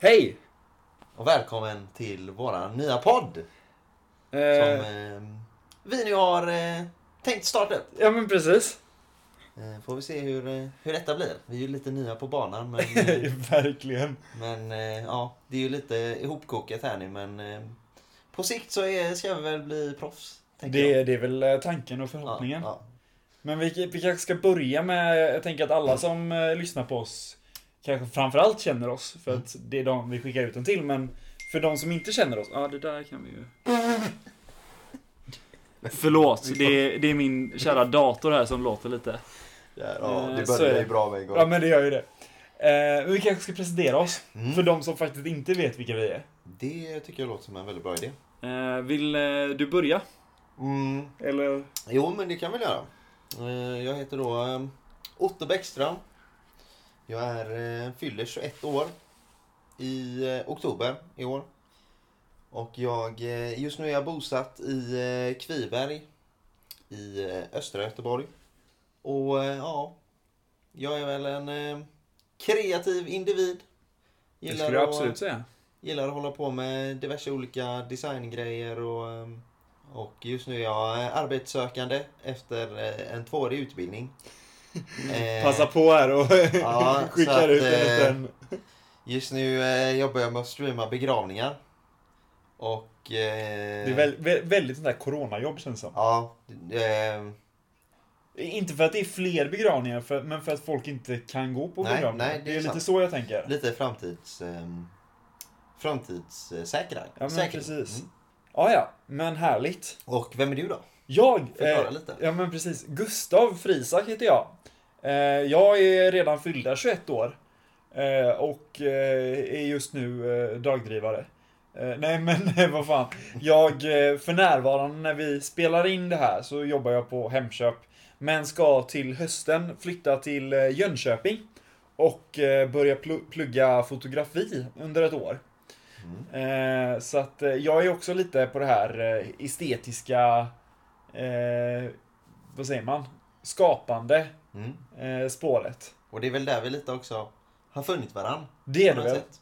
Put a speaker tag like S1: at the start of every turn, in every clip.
S1: Hej!
S2: Och välkommen till våran nya podd!
S1: Eh,
S2: Som eh, vi nu har eh, tänkt starta upp.
S1: ja men precis.
S2: Eh, får vi se hur, eh, hur detta blir. Vi är ju lite nya på banan men, eh,
S1: Verkligen.
S2: men eh, ja, det är ju lite ihopkokat här nu men eh, på sikt så är, ska vi väl bli proffs. tänker jag.
S1: Det, det är väl eh, tanken och förhoppningen.
S2: Ja,
S1: Men vi, vi kanske ska börja med, jag tänker att alla som eh, lyssnar på oss kanske framförallt känner oss, för att det är de vi skickar ut den till, men för de som inte känner oss, ja det där kan vi ju... Förlåt, det är, det är min kära dator här som låter lite.
S2: ja.
S1: ja, det Eh, så började är det. ju
S2: bra med igår.
S1: Ja men det gör ju det. Eh, men vi kanske ska presentera oss,
S2: Mm.
S1: för de som faktiskt inte vet vilka vi är.
S2: Det tycker jag låter som en väldigt bra idé.
S1: Eh, vill eh, du börja?
S2: Mm.
S1: Eller?
S2: Jo, men det kan vi göra. Eh, Jag heter då eh, Otto Bäckström. Jag är, eh, fyller 21 år i eh, oktober i år. Och jag, eh, just nu är jag bosatt i eh, Kviberg i eh, östra Göteborg. Och eh, ja, jag är väl en eh, kreativ individ.
S1: Det
S2: Gillar
S1: skulle jag
S2: att-
S1: absolut säga.
S2: gillar att hålla på med diverse olika designgrejer och, ehm, och just nu är jag eh, arbetssökande efter eh, en tvåårig utbildning. Eh,
S1: Passa på här och
S2: Ja, så
S1: skickar
S2: att,
S1: ut en
S2: eh,
S1: liten...
S2: Just nu eh, jobbar jag med att streama begravningar. Och... eh,
S1: Det är väl, vä- väldigt sånt där coronajobb känns det som.
S2: Ja. Eh,
S1: Inte för att det är fler begravningar, för, men för att folk inte kan gå på
S2: Nej,
S1: begravningar.
S2: nej,
S1: det
S2: det
S1: är,
S2: är
S1: lite
S2: sant.
S1: så jag tänker.
S2: lite framtids... ehm, Framtidssäkra.
S1: Ja, men
S2: Säkring.
S1: precis.
S2: Mm.
S1: Ja, ja, men härligt.
S2: Och vem är du då?
S1: Jag!
S2: Förklara lite.
S1: Ja, men precis. Gustav Frisak heter jag. Eh, jag är redan fyllda 21 år. Eh, och eh, är just nu eh, dagdrivare. Eh, nej, men vad fan. Jag, eh, för närvarande när vi spelar in det här så jobbar jag på Hemköp. Men ska till hösten flytta till eh, Jönköping. Och eh, börja pl- plugga fotografi under ett år.
S2: Mm.
S1: Eh, så att eh, jag är också lite på det här eh, estetiska, eh, vad säger man, skapande
S2: Mm.
S1: eh, spåret.
S2: Och det är väl där vi lite också har funnit varann.
S1: Det är
S2: på
S1: det
S2: något
S1: väl?
S2: sätt.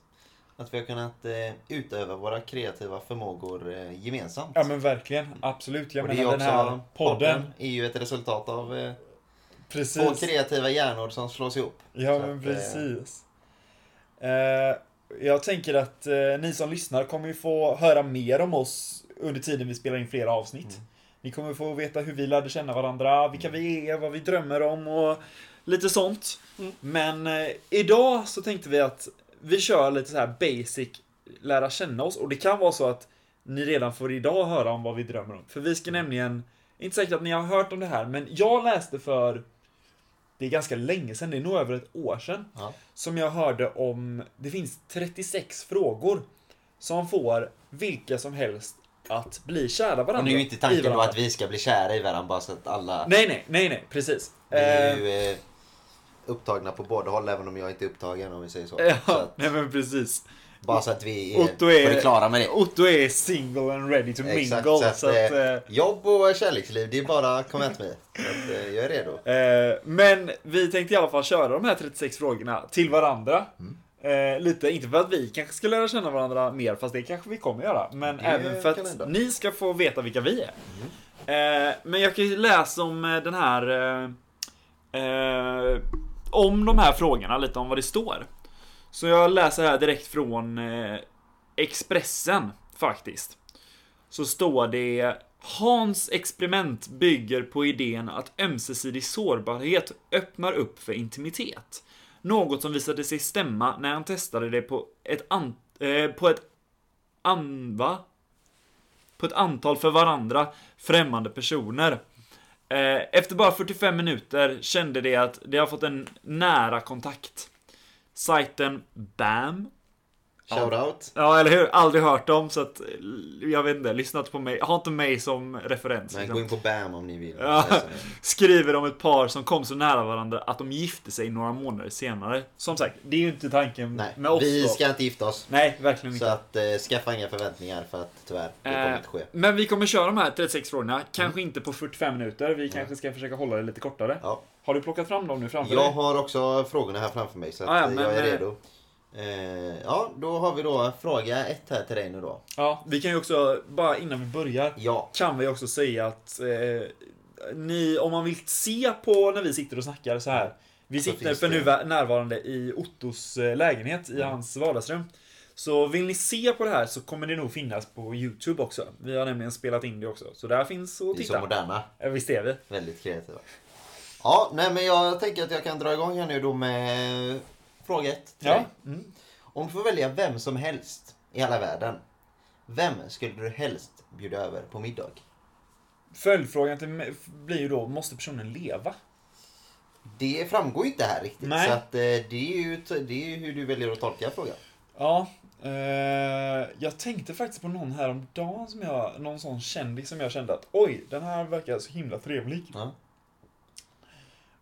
S2: Att vi har kunnat eh, utöva våra kreativa förmågor eh, gemensamt.
S1: Ja men verkligen, absolut. Jag
S2: Och det
S1: menar
S2: är
S1: den här podden.
S2: är ju ett resultat av eh, två
S1: Precis.
S2: kreativa hjärnor som slås ihop.
S1: Ja
S2: Så
S1: men
S2: att, eh,
S1: precis. Eh, jag tänker att eh, ni som lyssnar kommer ju få höra mer om oss under tiden vi spelar in flera avsnitt.
S2: Mm.
S1: Ni kommer få veta hur vi lärde känna varandra, vilka vi är, vad vi drömmer om och lite sånt.
S2: Mm.
S1: Men eh, idag så tänkte vi att vi kör lite så här basic lära känna oss och det kan vara så att ni redan får idag höra om vad vi drömmer om. För vi ska
S2: Mm.
S1: nämligen, inte säkert att ni har hört om det här, men jag läste för, det är ganska länge sedan, det är nog över ett år sedan,
S2: Ja.
S1: som jag hörde om, det finns 36 frågor som får vilka som helst att bli kära varandra.
S2: Och nu är ju inte
S1: i
S2: tanken då
S1: varandra.
S2: att vi ska bli kära i varandra bara så att alla
S1: Nej, nej, nej, nej, precis.
S2: vi är
S1: Eh,
S2: ju, eh, upptagna på båda håll även om jag inte är upptagen om vi säger så. så
S1: Eh, Ja,
S2: att,
S1: nej men precis.
S2: bara så att vi är,
S1: Otto är-
S2: på det klara med det.
S1: Otto är single and ready to mingle.
S2: Exakt,
S1: så att, eh,
S2: eh, jobb och kärleksliv, det är bara att komma åt mig. Så att, eh, jag är redo.
S1: Eh, men vi tänkte i alla fall köra de här 36 frågorna till varandra.
S2: Mm.
S1: Eh, lite, inte för att vi kanske ska lära känna varandra mer, fast det kanske vi kommer göra. Men
S2: Det
S1: även för
S2: kan
S1: att
S2: hända. Mm.
S1: ni ska få veta vilka vi är. Eh, men jag kan ju läsa om eh, den här... Eh, eh, om de här frågorna, lite om vad det står. Så jag läser här direkt från eh, Expressen, faktiskt. Så står det Hans experiment bygger på idén att ömsesidig sårbarhet öppnar upp för intimitet. Något som visade sig stämma när han testade det på ett an... Eh, på ett an... Va? På ett antal för varandra främmande personer. Eh, efter bara 45 minuter kände de att de har fått en nära kontakt. Sajten BAM
S2: Shoutout.
S1: Ja, eller hur? Aldrig hört dem, så att eh, jag vet inte. Lyssnat på mig. Har inte mig som referens.
S2: Men
S1: liksom.
S2: gå in på BAM om ni vill. Alltså,
S1: Ja. Skriver om ett par som kom så nära varandra att de gifte sig några månader senare. Som sagt, det är ju inte tanken
S2: Nej,
S1: med oss.
S2: vi
S1: då.
S2: ska inte gifta oss.
S1: Nej, verkligen
S2: Så
S1: inte.
S2: att eh, skaffa inga förväntningar för att tyvärr, det kommer
S1: Eh,
S2: inte ske.
S1: Men vi kommer köra de här 36
S2: Mm.
S1: frågorna. Kanske inte på 45 minuter. Vi kanske ska försöka hålla det lite kortare.
S2: Ja.
S1: Har du plockat fram dem nu framför
S2: Jag
S1: dig?
S2: har också frågorna här framför mig så att
S1: Ah, ja,
S2: eh,
S1: men,
S2: jag är
S1: eh,
S2: redo. Eh, ja, då har vi då fråga ett här till dig nu då.
S1: Ja, vi kan ju också, bara innan vi börjar,
S2: Ja.
S1: kan vi också säga att eh, ni, om man vill se på när vi sitter och snackar så här. Vi
S2: Så
S1: sitter
S2: finns
S1: för
S2: det.
S1: nu närvarande i Ottos eh, lägenhet, i hans vardagsrum. Så vill ni se på det här så kommer det nog finnas på Youtube också. Vi har nämligen spelat in det också. Så där finns att
S2: Vi är så
S1: titta.
S2: moderna.
S1: Ja, Visst är vi?
S2: Väldigt kreativa. Ja, nej men jag tänker att jag kan dra igång här nu då med fråga ett till dig.
S1: Ja. Mm.
S2: Om du får välja vem som helst i alla världen. Vem skulle du helst bjuda över på middag?
S1: Följdfrågan till mig blir ju då, måste personen leva?
S2: Det framgår ju inte här riktigt.
S1: Nej.
S2: Så att, eh, det, är ju, det är ju hur du väljer att tolka frågan.
S1: Ja, eh, jag tänkte faktiskt på någon häromdagen som jag, någon sån kändis som jag kände att oj, den här verkar så himla trevlig.
S2: Ja.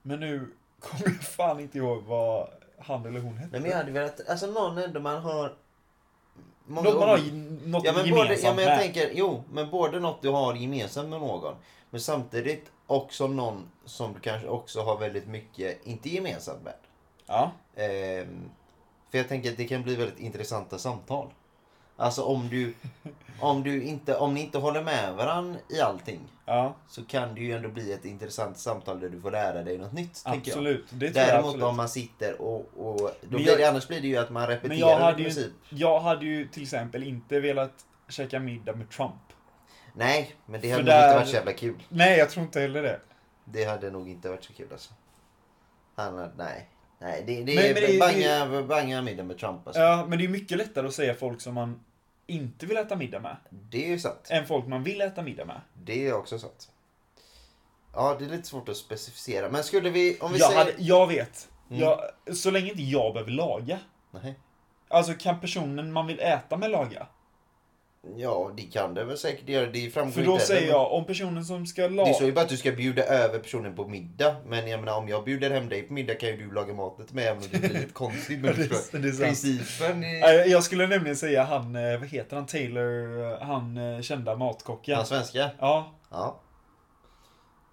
S1: Men nu kommer jag fan inte ihåg vad han eller hon hette.
S2: Nej, men jag hade velat, alltså någon ändå man har... många
S1: något man har
S2: gånger-
S1: ge- något
S2: ja, men
S1: gemensamt
S2: både, ja, men jag
S1: med.
S2: tänker, jo, men både något du har gemensamt med någon, men samtidigt också någon som du kanske också har väldigt mycket, inte gemensamt med.
S1: Ja,
S2: Ehm, för jag tänker att det kan bli väldigt intressanta samtal. Alltså om du, om du inte, om ni inte håller med varann i allting
S1: ja
S2: så kan det ju ändå bli ett intressant samtal där du får lära dig något nytt. tänker jag.
S1: absolut. Det tror jag
S2: Däremot
S1: absolut.
S2: om man sitter och... och då
S1: Men
S2: blir
S1: jag-
S2: det, annars blir det ju att man
S1: Men jag
S2: repeterar
S1: hade,
S2: i
S1: ju,
S2: princip.
S1: jag hade ju till exempel inte velat käka middag med Trump.
S2: Nej, men det hade
S1: För
S2: nog inte
S1: där-
S2: varit så jävla kul.
S1: Nej, jag tror inte heller det.
S2: Det hade nog inte varit så kul alltså. Han hade, nej. Nej, det, det
S1: Men-
S2: är
S1: men det-
S2: banga, banga middag med Trump alltså.
S1: Ja, men det är ju mycket lättare att säga folk som man inte vill äta middag med,
S2: Det är ju sant.
S1: än folk man vill äta middag med.
S2: Det är också sant. Ja, det är lite svårt att specificera. Men skulle vi, om vi
S1: Jag,
S2: säger...
S1: hade, jag vet.
S2: Mm.
S1: Jag, så länge inte jag behöver laga.
S2: Nej.
S1: Alltså kan personen man vill äta med laga?
S2: Ja, det kan det väl säkert göra. Det framgår
S1: För då
S2: inte heller,
S1: säger
S2: men-
S1: jag, om personen som ska
S2: Det
S1: laga...
S2: står ju bara att du ska bjuda över personen på middag. Men jag menar om jag bjuder hem dig på middag kan ju du laga maten till mig även om det blir lite konstigt. Men
S1: Det är-
S2: förstår jag.
S1: det är sant.
S2: principen är...
S1: Nej, Jag skulle nämligen säga han, eh, vad heter han, Taylor, eh, han eh, kända matkocken.
S2: Han svenska?
S1: Ja,
S2: Ja.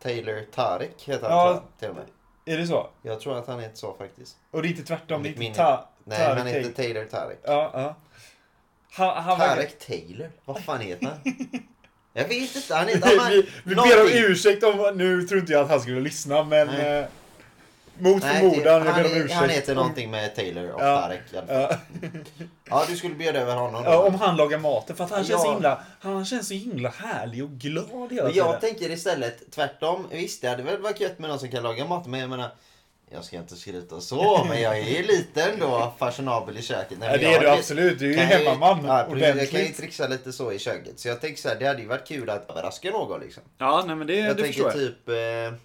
S2: Taylor Tarek heter han
S1: Ja.
S2: tror jag, till och med.
S1: är det så?
S2: Jag tror att han heter så faktiskt.
S1: Och det är inte tvärtom, det är
S2: Mitt
S1: inte
S2: minne.
S1: ta,
S2: Nej,
S1: Tarek
S2: men han heter
S1: Taylor.
S2: Taylor Tarek.
S1: Ja, ja. Han, han var...
S2: Tarek Taylor? Vad fan heter han? Jag vet inte. Han heter... Han,
S1: Vi, vi ber om
S2: någonting.
S1: ursäkt om, nu tror inte jag att han skulle lyssna men...
S2: Nej.
S1: Eh, mot
S2: Nej,
S1: förmodan,
S2: det-
S1: jag ber om
S2: han,
S1: ursäkt.
S2: han heter någonting med Taylor och
S1: Ja.
S2: Tarek. i alla fall.
S1: Ja.
S2: Ja, du skulle bjuda över honom. då.
S1: Ja, om han lagar maten. För att han, känns så
S2: Ja.
S1: himla, han känns så himla härlig och glad hela tiden.
S2: Men jag tänker istället tvärtom. Visst, det hade väl varit gött med någon som kan laga mat. Men jag menar, jag ska inte skryta så, men jag är ju lite ändå fashionabel i köket. Nej,
S1: Ja,
S2: men
S1: det
S2: jag
S1: är du
S2: hade-
S1: absolut. Du är ju
S2: kan ju-
S1: hemmaman.
S2: Ja, precis, jag kan ju
S1: ordentligt.
S2: trixa lite så i köket. Så jag tänker så här, det hade ju varit kul att överraska någon liksom.
S1: Ja, nej men det,
S2: Jag
S1: det
S2: tänker
S1: förstår jag.
S2: typ... Eh,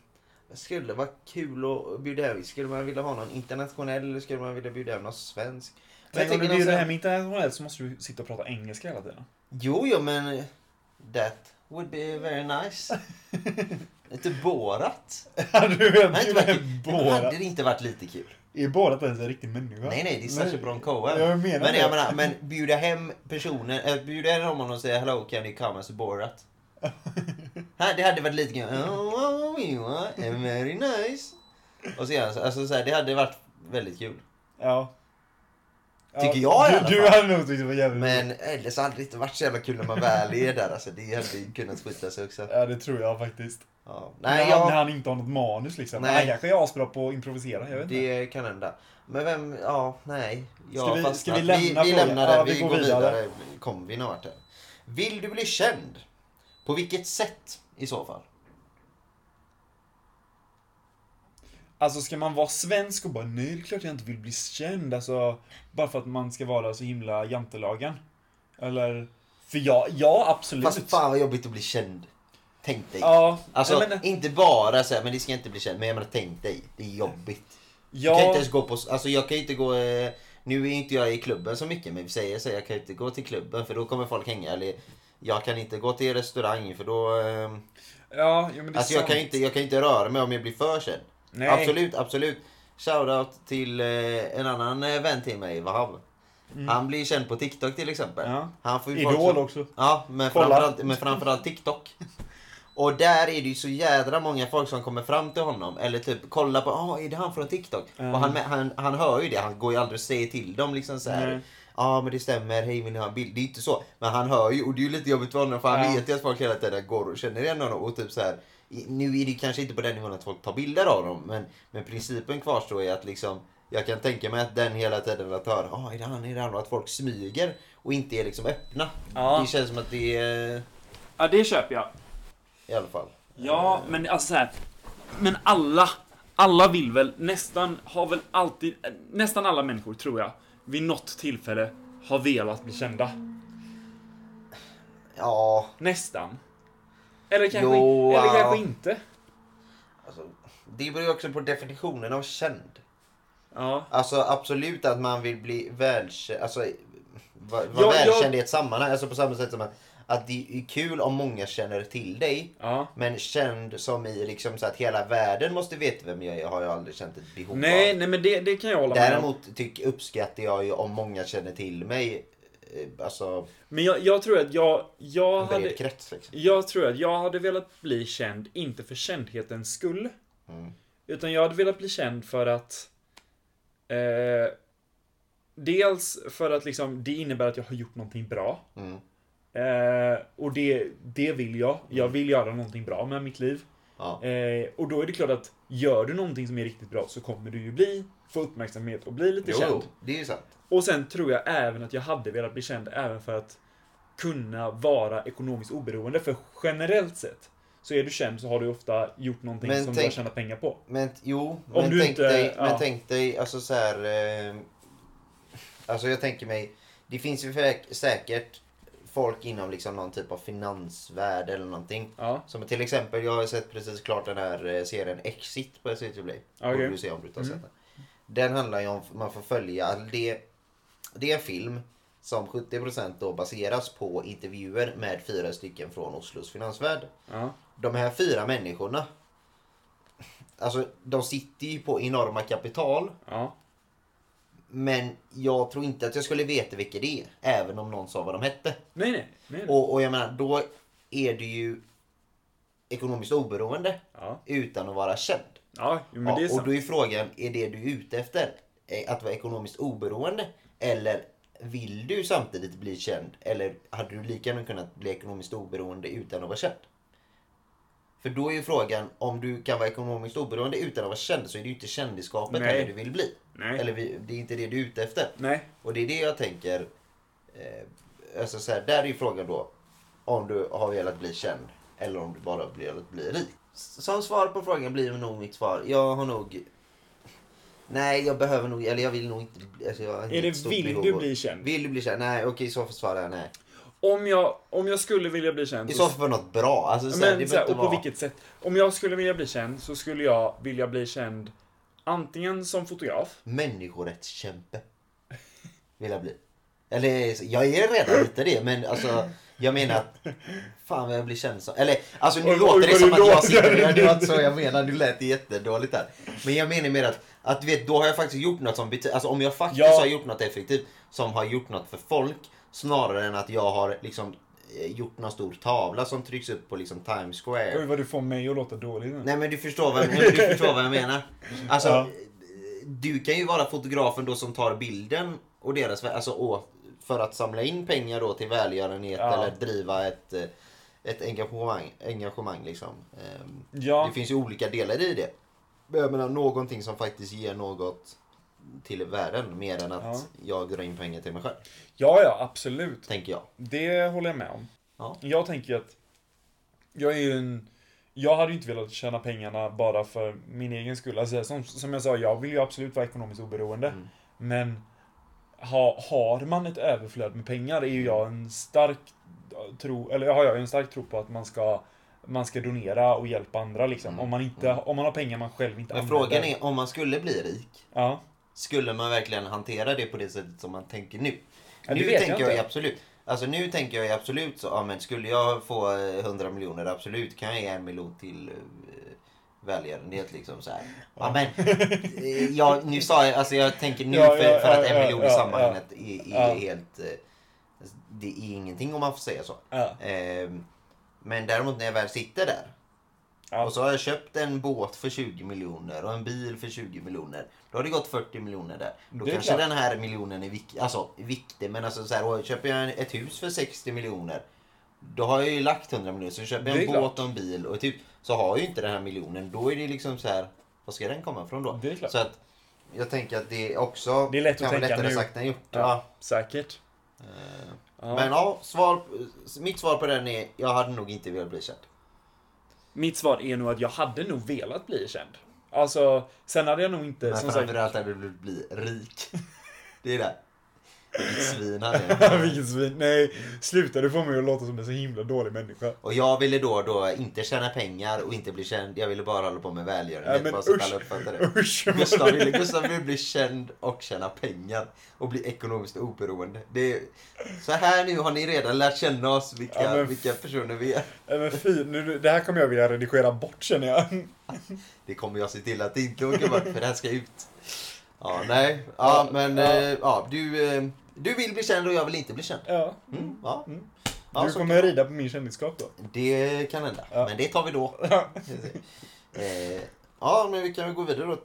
S2: skulle vara kul att bjuda hem. Skulle man vilja ha någon internationell eller skulle man vilja bjuda hem någon svensk? Men jag
S1: Tänk om
S2: tänker
S1: du
S2: någon
S1: bjuder
S2: sån-
S1: hem internationellt så måste du sitta och prata engelska hela tiden.
S2: Jo, jo, men... eh, That would be very nice. Lite Borat.
S1: Hade du
S2: Det hade,
S1: velat
S2: inte
S1: bjuda
S2: varit,
S1: hem
S2: kul. Men hade
S1: Borat?
S2: det inte varit lite kul?
S1: Är Borat ens en riktig människa?
S2: Nej, nej, det är Sacha Baron Cohen.
S1: Jag menar
S2: men,
S1: det.
S2: jag menar, men bjuda hem personen, äh, bjuda hem honom och säga hello can you come as Borat. Här, det hade varit lite kul. Oh, you are very nice. Och så, gör han så- alltså, så här, det hade varit väldigt kul.
S1: Ja.
S2: Tycker jag i
S1: du,
S2: alla
S1: Du
S2: fall.
S1: hade nog tyckt det var jävligt
S2: Men eller så hade det inte varit så jävla kul när man väl är där. Alltså, det hade ju kunnat skita sig också.
S1: Ja, det tror jag faktiskt.
S2: Ja.
S1: Nej,
S2: Nej,
S1: när, han, när
S2: jag,
S1: han inte har något manus liksom.
S2: Nej.
S1: Han kanske är asbra på att improvisera, jag vet inte.
S2: det kan hända. Men vem, ja, nej. Jag
S1: Ska vi-
S2: fastnar.
S1: ska vi lämna
S2: vi, vi
S1: frågan?
S2: lämnar den,
S1: Ja,
S2: vi, går vidare. Kommer vi någon vart där. Vill du bli känd? På vilket sätt i så fall?
S1: Alltså ska man vara svensk och bara nej, det är klart jag inte vill bli känd. Alltså, bara för att man ska vara så himla jantelagen. Eller? För ja, ja absolut.
S2: Fast fan vad jobbigt att bli känd. Tänk dig.
S1: Ja,
S2: Alltså
S1: nej, men,
S2: inte bara så här, men det ska inte bli känd. Men jag menar tänk dig, det är jobbigt. Jag kan inte
S1: ja,
S2: ens gå på, alltså jag kan ju inte gå, eh, nu är inte jag i klubben så mycket men vi säger så, här, jag kan ju inte gå till klubben för då kommer folk hänga. Eller jag kan inte gå till restaurang för då, eh,
S1: ja, jo, men det är
S2: alltså jag
S1: sant.
S2: kan, ju inte, jag kan ju inte röra mig om jag blir för känd.
S1: Nej.
S2: Absolut, absolut. Shoutout till eh, en annan eh, vän till mig, Wahab. Han blir känd på TikTok till exempel.
S1: Mm. Ja.
S2: Han får ju folk
S1: Idol
S2: som-
S1: också.
S2: Ja, men
S1: Kolla.
S2: framförallt, men framförallt TikTok. Och där är det ju så jädra många folk som kommer fram till honom eller typ kollar på, ah är det han från TikTok?
S1: Mm.
S2: Och han, han, han hör ju det, han går ju aldrig och säger till dem liksom så här.
S1: Nej.
S2: Ja men det stämmer, hej vill ni ha en bild? Det är inte så. Men han hör ju och det är ju lite jobbigt för honom för han
S1: Ja.
S2: vet ju att folk hela tiden går och känner igen honom och typ så här. i- Nu är det kanske inte på den nivån att folk tar bilder av dem men, men principen kvarstår är att liksom jag kan tänka mig att den hela tiden att höra, ah är det han, är det han? Och att folk smyger och inte är liksom öppna.
S1: Ja.
S2: Det känns som att det är,
S1: Ja, det köper jag.
S2: i alla fall.
S1: Ja, men alltså så här, Men alla, alla vill väl nästan, har väl alltid, nästan alla människor tror jag, vid något tillfälle har velat bli kända.
S2: Ja,
S1: Nästan. Eller kanske,
S2: Jo,
S1: eller
S2: ja.
S1: kanske inte.
S2: Alltså, det beror ju också på definitionen av känd.
S1: Ja.
S2: Alltså absolut att man vill bli välkänd, alltså vara
S1: Ja, jag-
S2: välkänd i ett sammanhang. Alltså på samma sätt som att, att det är kul om många känner till dig.
S1: Ja.
S2: Men känd som i liksom så att hela världen måste veta vem jag är har jag aldrig känt ett behov
S1: Nej,
S2: av.
S1: nej men det, det kan jag hålla med om.
S2: Däremot tyck, uppskattar jag ju om många känner till mig. eh, Alltså
S1: Men jag, jag tror att jag, jag
S2: en bred
S1: hade,
S2: krets liksom.
S1: jag tror att jag hade velat bli känd, inte för kändhetens skull.
S2: Mm.
S1: Utan jag hade velat bli känd för att eh, Dels för att liksom, det innebär att jag har gjort någonting bra.
S2: Mm.
S1: Eh, och det, det vill jag. Jag
S2: Mm.
S1: vill göra någonting bra med mitt liv.
S2: Ja.
S1: Eh, och då är det klart att gör du någonting som är riktigt bra så kommer du ju bli, få uppmärksamhet och bli lite
S2: Jo,
S1: känd.
S2: jo, det är ju sant.
S1: Och sen tror jag även att jag hade velat bli känd även för att kunna vara ekonomiskt oberoende. För generellt sett så är du känd så har du ofta gjort någonting
S2: Men
S1: som du har
S2: tänk-
S1: tjänat pengar på.
S2: Men jo, men
S1: du
S2: tänk,
S1: inte-
S2: dig,
S1: ja.
S2: men tänk dig, alltså så här. Eh, alltså jag tänker mig, det finns ju fä- säkert folk inom liksom någon typ av finansvärld eller någonting.
S1: Ja,
S2: Som till exempel, jag har sett precis klart den här eh, serien Exit på SVT Play.
S1: Okej. Mm.
S2: Borde du se om du inte har sett den. Den handlar ju om, man får följa, alltså det, det är en film som 70% då baseras på intervjuer med fyra stycken från Oslos finansvärld
S1: ja,
S2: de här fyra människorna. Alltså de sitter ju på enorma kapital.
S1: ja.
S2: Men jag tror inte att jag skulle veta vilka det är. Även om någon sa vad de hette.
S1: Nej, nej. nej, nej.
S2: Och, och jag menar då är du ju ekonomiskt oberoende.
S1: Ja,
S2: Utan att vara känd.
S1: ja jo, men det är
S2: ja, och
S1: sant.
S2: då är frågan, är det du är ute efter? eh, Att vara ekonomiskt oberoende? Eller vill du samtidigt bli känd? Eller hade du lika gärna kunnat bli ekonomiskt oberoende utan att vara känd? För då är ju frågan, om du kan vara ekonomiskt oberoende utan att vara känd så är det ju inte kändisskapet
S1: Nej.
S2: heller du vill bli.
S1: Nej.
S2: Eller vi- det är inte det du är ute efter.
S1: Nej.
S2: Och det är det jag tänker. Eh, alltså så här, där är ju frågan då. Om du har velat bli känd eller om du bara har velat bli rik. S- Som svar på frågan blir nog mitt svar. Jag har nog... Nej, jag behöver nog... Eller jag vill nog inte... bli- Alltså jag har
S1: Är
S2: inget
S1: det
S2: stort
S1: vill
S2: behov
S1: du
S2: av-
S1: bli känd?
S2: Vill du bli känd? Nej, okej i så fall svarar jag nej.
S1: Om jag, om jag skulle vilja bli känd
S2: I
S1: så-
S2: så fall för något bra. Alltså, så här, det
S1: Men,
S2: behöver
S1: så här,
S2: inte
S1: och på
S2: vara-
S1: vilket sätt? Om jag skulle vilja bli känd så skulle jag vilja bli känd antingen som fotograf.
S2: människorättskämpe. Vill jag bli. Eller jag är redan lite det men alltså jag menar att fan vad jag blir känd som. Eller alltså nu
S1: Oj, oj,
S2: låter det
S1: vad
S2: som
S1: du
S2: att jag
S1: låter.
S2: sitter ja, Det var inte så jag menar, du lät jättedåligt där. Men jag menar mer att, att du vet, då har jag faktiskt gjort något som betyder, alltså om jag faktiskt
S1: Ja.
S2: har gjort något effektivt som har gjort något för folk snarare än att jag har liksom eh, gjort någon stor tavla som trycks upp på liksom Times Square.
S1: Oj vad du får mig att låta dålig nu.
S2: Nej men du förstår vad, nej, men du förstår vad jag menar. Alltså,
S1: Ja.
S2: du kan ju vara fotografen då som tar bilden och deras, alltså, å- för att samla in pengar då till välgörenhet
S1: Ja.
S2: eller driva ett, eh, ett engagemang. engagemang liksom. Ehm,
S1: Ja.
S2: Det finns ju olika delar i det. Men Jag menar någonting som faktiskt ger något till världen mer än att jag drar in pengar till mig själv.
S1: Ja, ja, absolut.
S2: Tänker jag.
S1: Det håller jag med om.
S2: Ja.
S1: Jag tänker ju att jag är ju en... Jag hade ju inte velat tjäna pengarna bara för min egen skull. Alltså, som, som jag sa, jag vill ju absolut vara ekonomiskt oberoende.
S2: Mm.
S1: Men ha, har man ett överflöd med pengar är ju jag en stark tro, eller har jag ju en stark tro på att man ska man ska donera och hjälpa andra liksom. Om, man inte, om man har pengar man själv inte
S2: Mm. Men
S1: använder.
S2: frågan är om man skulle bli rik.
S1: Ja.
S2: Skulle man verkligen hantera det på det sättet som man tänker nu?
S1: Ja, det
S2: nu
S1: vet jag
S2: tänker jag,
S1: inte.
S2: ju absolut. Alltså nu tänker jag ju absolut så, ja men skulle jag få eh, 100 miljoner, absolut kan jag ge en miljon till eh, välgörenhet liksom så här. Ja, men eh, ja, nu sa jag, alltså jag tänker nu
S1: Ja,
S2: för,
S1: ja,
S2: för att
S1: ja,
S2: en
S1: ja,
S2: miljon
S1: ja,
S2: i
S1: ja.
S2: sammanhanget är, alltså, är
S1: Ja.
S2: helt... eh, Det är ingenting om man får säga så.
S1: Ja.
S2: Ehm, Men däremot när jag väl sitter där
S1: Ja.
S2: och så har jag köpt en båt för 20 miljoner och en bil för 20 miljoner. Då har det gått 40 miljoner där. Då
S1: Det är
S2: kanske
S1: klart.
S2: den här miljonen är vik- alltså, viktig. Men alltså, så här, och köper jag en- ett hus för 60 miljoner. Då har jag ju lagt 100 miljoner. Så köper jag
S1: Det
S2: en
S1: är
S2: båt
S1: klart.
S2: och en bil och ett hus. Så har jag ju inte den här miljonen. Då är det liksom så här. Var ska den komma ifrån då?
S1: Det är klart.
S2: Så att jag tänker att det är också
S1: Det är lätt att
S2: kan vara
S1: tänka
S2: lättare
S1: nu.
S2: sagt än gjort.
S1: Ja,
S2: Ja.
S1: Säkert.
S2: Eh,
S1: Ja.
S2: Men ja, svar, mitt svar på den är jag hade nog inte velat bli känd.
S1: Mitt svar är nog att jag hade nog velat bli känd. Alltså, sen hade jag nog inte...
S2: Men
S1: som sagt,
S2: framförallt hade du velat bli rik. Det är det. Vilket svin hade jag.
S1: Vilket svin. Nej, sluta. Du får mig att låta som en så himla dålig människa.
S2: Och jag ville då, då inte tjäna pengar och inte bli känd. Jag ville bara hålla på med välgörenhet.
S1: Ja, men
S2: bara så att
S1: usch.
S2: alla uppfattar det.
S1: Usch.
S2: Gustav ville, Gustav ville bli känd och tjäna pengar. Och bli ekonomiskt oberoende. Det är, så här nu har ni redan lärt känna oss, vilka,
S1: Ja, men-
S2: vilka personer vi är.
S1: Nej, men fy, nu, det här kommer jag vilja redigera bort känner jag.
S2: Det kommer jag se till att det inte åker bort, för det här ska ut. Ja, nej. Ja, men
S1: Ja.
S2: eh, ja, du, eh, du vill bli känd och jag vill inte bli känd.
S1: Ja.
S2: Mm, ja.
S1: Mm.
S2: Ja,
S1: du
S2: så
S1: kommer rida på min kändisskap då.
S2: Det kan hända,
S1: Ja.
S2: men det tar vi då. eh, ja, men vi kan väl gå vidare då.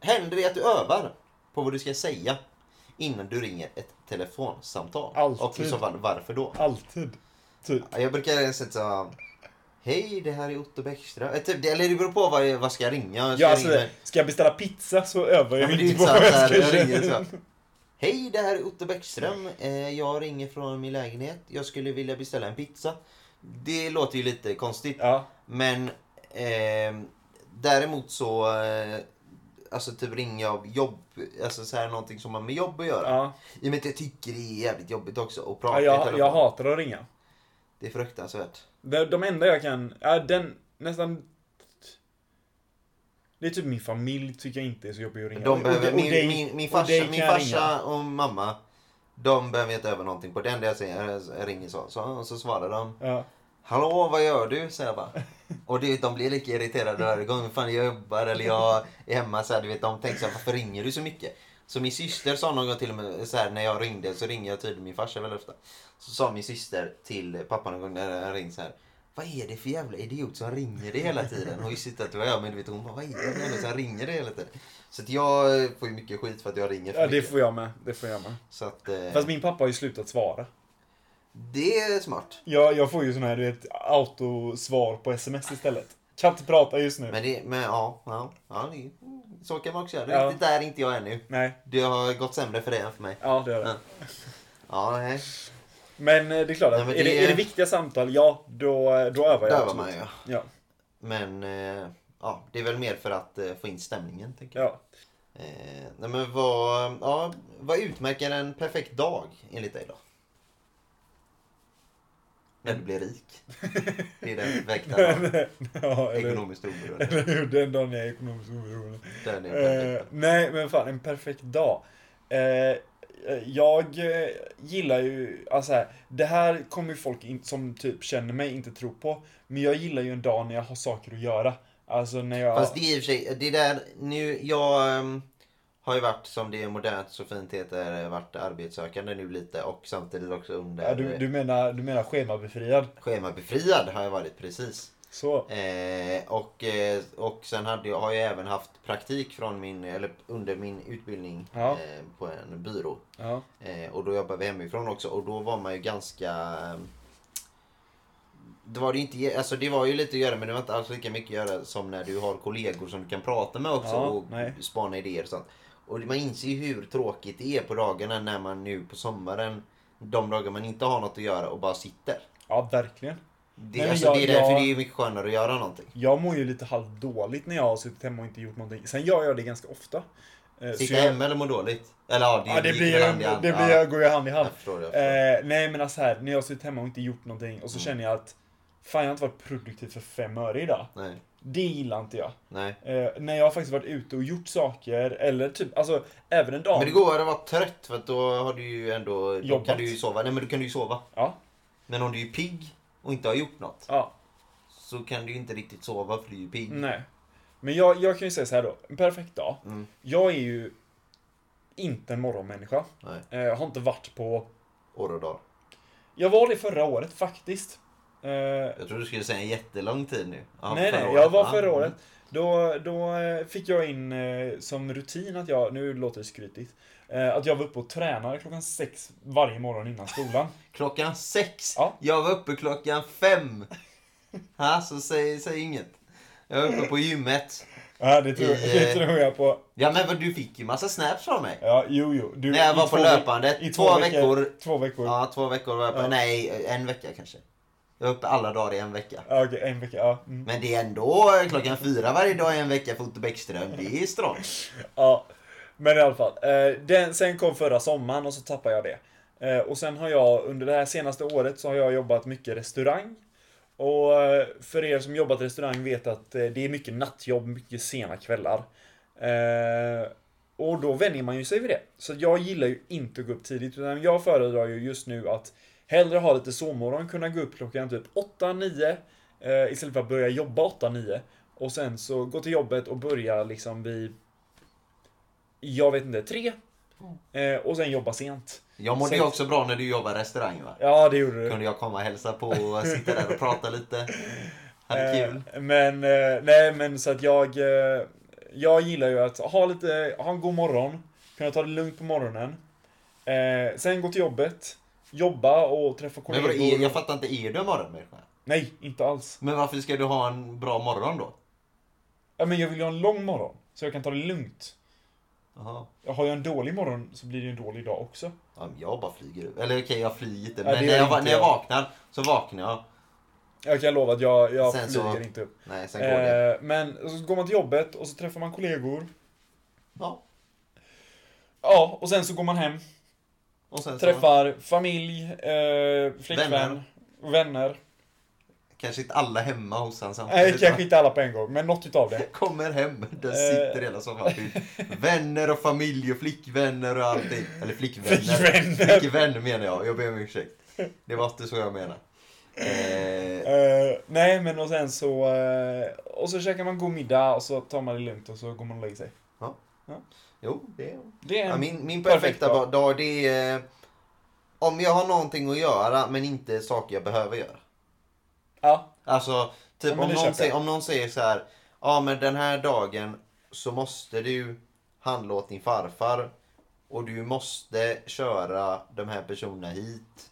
S2: Händer det att du övar på vad du ska säga innan du ringer ett telefonsamtal?
S1: Alltid.
S2: Och i så fall, varför då?
S1: Alltid. Typ.
S2: Ja, Jag brukar sätta Hej, det här är Otto Bäckström. Eh, typ, Eller det beror på vad jag, vad ska jag ringa. Ska
S1: Ja,
S2: jag
S1: alltså,
S2: ringa-
S1: ska jag beställa pizza så övar
S2: Ja,
S1: jag
S2: men det är
S1: inte
S2: ju
S1: på
S2: inte så
S1: vad
S2: att
S1: jag
S2: så
S1: ska
S2: här, jag ringer så.
S1: göra.
S2: här, Hej, det här är Otto Bäckström. Eh, Jag ringer från min lägenhet. Jag skulle vilja beställa en pizza. Det låter ju lite konstigt.
S1: Ja.
S2: Men ehm, däremot så... Eh, alltså typ ringer jag av jobb. Alltså så här någonting som har med jobb att göra.
S1: Ja.
S2: I och med att jag tycker det är jävligt jobbigt också att prata
S1: Ja,
S2: i
S1: jag,
S2: telefon.
S1: jag hatar att ringa.
S2: Det är fruktansvärt.
S1: De, de enda jag kan, ja, den, nästan... Det är typ min familj tycker jag inte är så jobbig att ringa.
S2: De behöver,
S1: och, och
S2: min,
S1: dig-
S2: min, min
S1: och dig
S2: farsa,
S1: kan
S2: min
S1: jag ringa.
S2: farsa och mamma. De behöver inte öva någonting på den där jag säger. Jag ringer så, så, och så svarar de.
S1: Ja.
S2: Hallå, vad gör du? säger jag bara. Och du vet, de blir lika irriterade varje gång. Fan, jag jobbar eller jag är hemma. Så här, du vet, de tänker så här, varför ringer du så mycket? Så min syster sa någon gång till och med, så här, när jag ringde, så ringer jag tydligen min farsa väldigt ofta. Så sa min syster till pappa någon gång när jag ringde så här. Vad är det för jävla idiot som ringer det hela tiden? Hon visste inte att det var jag, men du vet, hon bara, vad är det för jävla som ringer det hela tiden? Så att jag får ju mycket skit för att jag ringer för
S1: ja, det
S2: mycket.
S1: får jag med. Det får jag med.
S2: Så att, eh,
S1: Fast min pappa har ju slutat svara.
S2: det är smart.
S1: Jag, jag får ju sån här, du vet, autosvar på sms istället. Kan inte prata just nu.
S2: Men, det, men ja, ja, ja det, så kan man också göra.
S1: Ja.
S2: Riktigt där är inte jag ännu.
S1: Nej.
S2: Det har gått sämre för dig än för mig.
S1: Ja, det är det.
S2: Ja. Ja, nej.
S1: Men eh, det är klart, att
S2: Nej, men
S1: är,
S2: det-
S1: det, är det viktiga samtal, ja, då, eh, då övar jag.
S2: Där var
S1: absolut.
S2: man ju.
S1: Ja.
S2: Men eh, ja, det är väl mer för att eh, få in stämningen. Tänker jag.
S1: ja.
S2: Eh, nej, men vad, ja, vad utmärker en perfekt dag enligt dig då? När du blir rik. Det är den perfekta dagen.
S1: ja, eller,
S2: Ekonomiskt oberoende.
S1: eller hur, den dagen jag är ekonomiskt oberoende.
S2: Den är
S1: Eh,
S2: perfekt.
S1: nej, men fan, en perfekt dag. Eh, eh, jag eh, gillar ju, alltså här, det här kommer ju folk in, som typ känner mig inte tro på. Men jag gillar ju en dag när jag har saker att göra. Alltså när jag...
S2: Fast det är i och för sig, det där, nu, jag ehm, har ju varit som det är modernt så fint heter, varit arbetssökande nu lite och samtidigt också under
S1: ja, du, du, menar, du menar schemabefriad?
S2: schemabefriad har jag varit precis.
S1: Så.
S2: Eh, och, eh, och sen hade jag, har jag även haft praktik från min, eller under min utbildning
S1: Ja.
S2: eh, på en byrå.
S1: Ja.
S2: Eh, och då jobbade vi hemifrån också och då var man ju ganska... ehm, Det var, det, inte, alltså det var ju lite att göra men det var inte alls lika mycket att göra som när du har kollegor som du kan prata med också
S1: Ja,
S2: och
S1: nej.
S2: spana idéer och sånt. Och man inser ju hur tråkigt det är på dagarna när man nu på sommaren, de dagar man inte har något att göra och bara sitter.
S1: Ja, verkligen.
S2: Det,
S1: Nej, men
S2: alltså,
S1: jag-
S2: det är därför
S1: jag-
S2: det är mycket skönare att göra någonting.
S1: Jag mår ju lite halvdåligt när jag har suttit hemma och inte gjort någonting. Sen gör jag det ganska ofta. Eh, så
S2: Sitta
S1: jag,
S2: hemma eller må dåligt? Eller ja, det,
S1: Ja, det
S2: gick
S1: blir
S2: väl
S1: ju,
S2: hand i hand.
S1: det
S2: Ja,
S1: blir, jag går ju hand i hand.
S2: jag förstår, jag förstår.
S1: Eh, nej men alltså här, när jag har suttit hemma och inte gjort någonting och
S2: Mm.
S1: så känner jag att Fan jag har inte varit produktiv för fem öre idag.
S2: Nej,
S1: Det gillar inte jag.
S2: nej.
S1: Eh, när jag har faktiskt varit ute och gjort saker eller typ, alltså även en dag.
S2: Men det går att vara trött för att då har du ju ändå... Då
S1: Jobbat.
S2: kan du ju sova. Nej men då kan du ju sova.
S1: Ja,
S2: Men om du är pigg och inte har gjort något
S1: ja,
S2: så kan du ju inte riktigt sova för du är ju pigg.
S1: nej. Men jag, jag kan ju säga så här då, en perfekt dag.
S2: Mm.
S1: Jag är ju inte en morgonmänniska.
S2: Nej.
S1: Eh, har inte varit på...
S2: År och dag.
S1: Jag var det förra året faktiskt. Eh,
S2: Jag tror du skulle säga en jättelång tid nu. Ja,
S1: nej,
S2: förra
S1: nej,
S2: året,
S1: jag var
S2: va?
S1: förra året.
S2: Mm.
S1: Då, då eh, fick jag in eh, som rutin att jag, nu låter det skrytigt, eh, att jag var uppe och tränade klockan sex varje morgon innan skolan.
S2: Klockan sex!
S1: Ja.
S2: Jag var uppe klockan fem! Ha, så säg, säg inget. Jag var uppe på gymmet.
S1: Ja, det tror, det
S2: eh,
S1: tror jag på.
S2: Ja men vad, du fick ju massa snaps från mig.
S1: Ja, jo, jo. Du,
S2: När jag
S1: i
S2: var på
S1: två veck-
S2: löpandet.
S1: I
S2: två veckor.
S1: Två veckor. Ja.
S2: Ja, två veckor var jag uppe.
S1: Ja.
S2: Nej, en vecka kanske. Jag var uppe alla dagar i en vecka.
S1: okej, en vecka, ja. Mm.
S2: Men det är ändå klockan fyra varje dag i en vecka för Otto Bäckström. Det är strongt.
S1: ja. Men i alla fall. Eh, den, sen kom förra sommaren och så tappade jag det. Eh, och sen har jag under det här senaste året så har jag jobbat mycket restaurang. Och eh, för er som jobbat i restaurang vet att eh, det är mycket nattjobb, mycket sena kvällar. Eh, och då vänjer man ju sig vid det. Så jag gillar ju inte att gå upp tidigt utan jag föredrar ju just nu att hellre ha lite sovmorgon, kunna gå upp klockan typ 8-9 eh, istället för att börja jobba 8-9 och sen så gå till jobbet och börja liksom vid jag vet inte, tre. Eh, och sen jobba sent.
S2: Jag mådde ju
S1: Sex.
S2: också bra när du jobbade i restaurang va?
S1: Ja, det gjorde du.
S2: Kunde jag komma och hälsa på och sitta där och prata lite. Hade
S1: Eh,
S2: kul.
S1: Men, eh, nej men så att jag, eh, jag gillar ju att ha lite, ha en god morgon, kunna ta det lugnt på morgonen. Eh, sen gå till jobbet, jobba och träffa
S2: Men
S1: kollegor.
S2: vadå, är, jag fattar inte, är du en morgonmänniska?
S1: Nej, inte alls.
S2: Men varför ska du ha en bra morgon då?
S1: Ja, men jag vill ju ha en lång morgon, så jag kan ta det lugnt.
S2: Jaha.
S1: Har jag en dålig morgon så blir det ju en dålig dag också.
S2: Ja, men jag bara flyger upp. Eller okej, jag flyger inte.
S1: Ja,
S2: Men
S1: det
S2: när,
S1: gör
S2: jag, va-
S1: inte
S2: när jag
S1: jag.
S2: vaknar så vaknar jag.
S1: Jag kan lova att jag, jag
S2: Sen så-
S1: flyger inte upp.
S2: Nej, sen går det.
S1: Eh, men så går man till jobbet och så träffar man kollegor.
S2: Ja.
S1: Ja, och sen så går man hem.
S2: Och sen så,
S1: Träffar familj, eh, flickvän,
S2: Vänner.
S1: vänner.
S2: kanske inte alla hemma hos honom
S1: Nej,
S2: samtidigt.
S1: kanske inte alla på en gång, men något utav det.
S2: Kommer hem,
S1: Eh.
S2: där sitter hela soffan fylld. Vänner och familj och flickvänner och allting. Eller flickvänner.
S1: Flickvänner.
S2: Flickvänner menar jag, jag ber om ursäkt. Det var inte så jag menade. Eh,
S1: Eh, nej, men och sen så... eh, och så käkar man god middag och så tar man det lugnt och så går man och lägger sig.
S2: jo, det
S1: Det är
S2: Ja,
S1: en...
S2: min, min
S1: perfekt
S2: perfekta
S1: dag.
S2: dag det är eh, om jag har någonting att göra men inte saker jag behöver göra.
S1: Ja,
S2: Alltså,
S1: Ja,
S2: typ
S1: men
S2: om,
S1: det
S2: någon
S1: köper
S2: säger,
S1: jag.
S2: om någon säger så här. Ja men den här dagen så måste du handla åt din farfar och du måste köra de här personerna hit.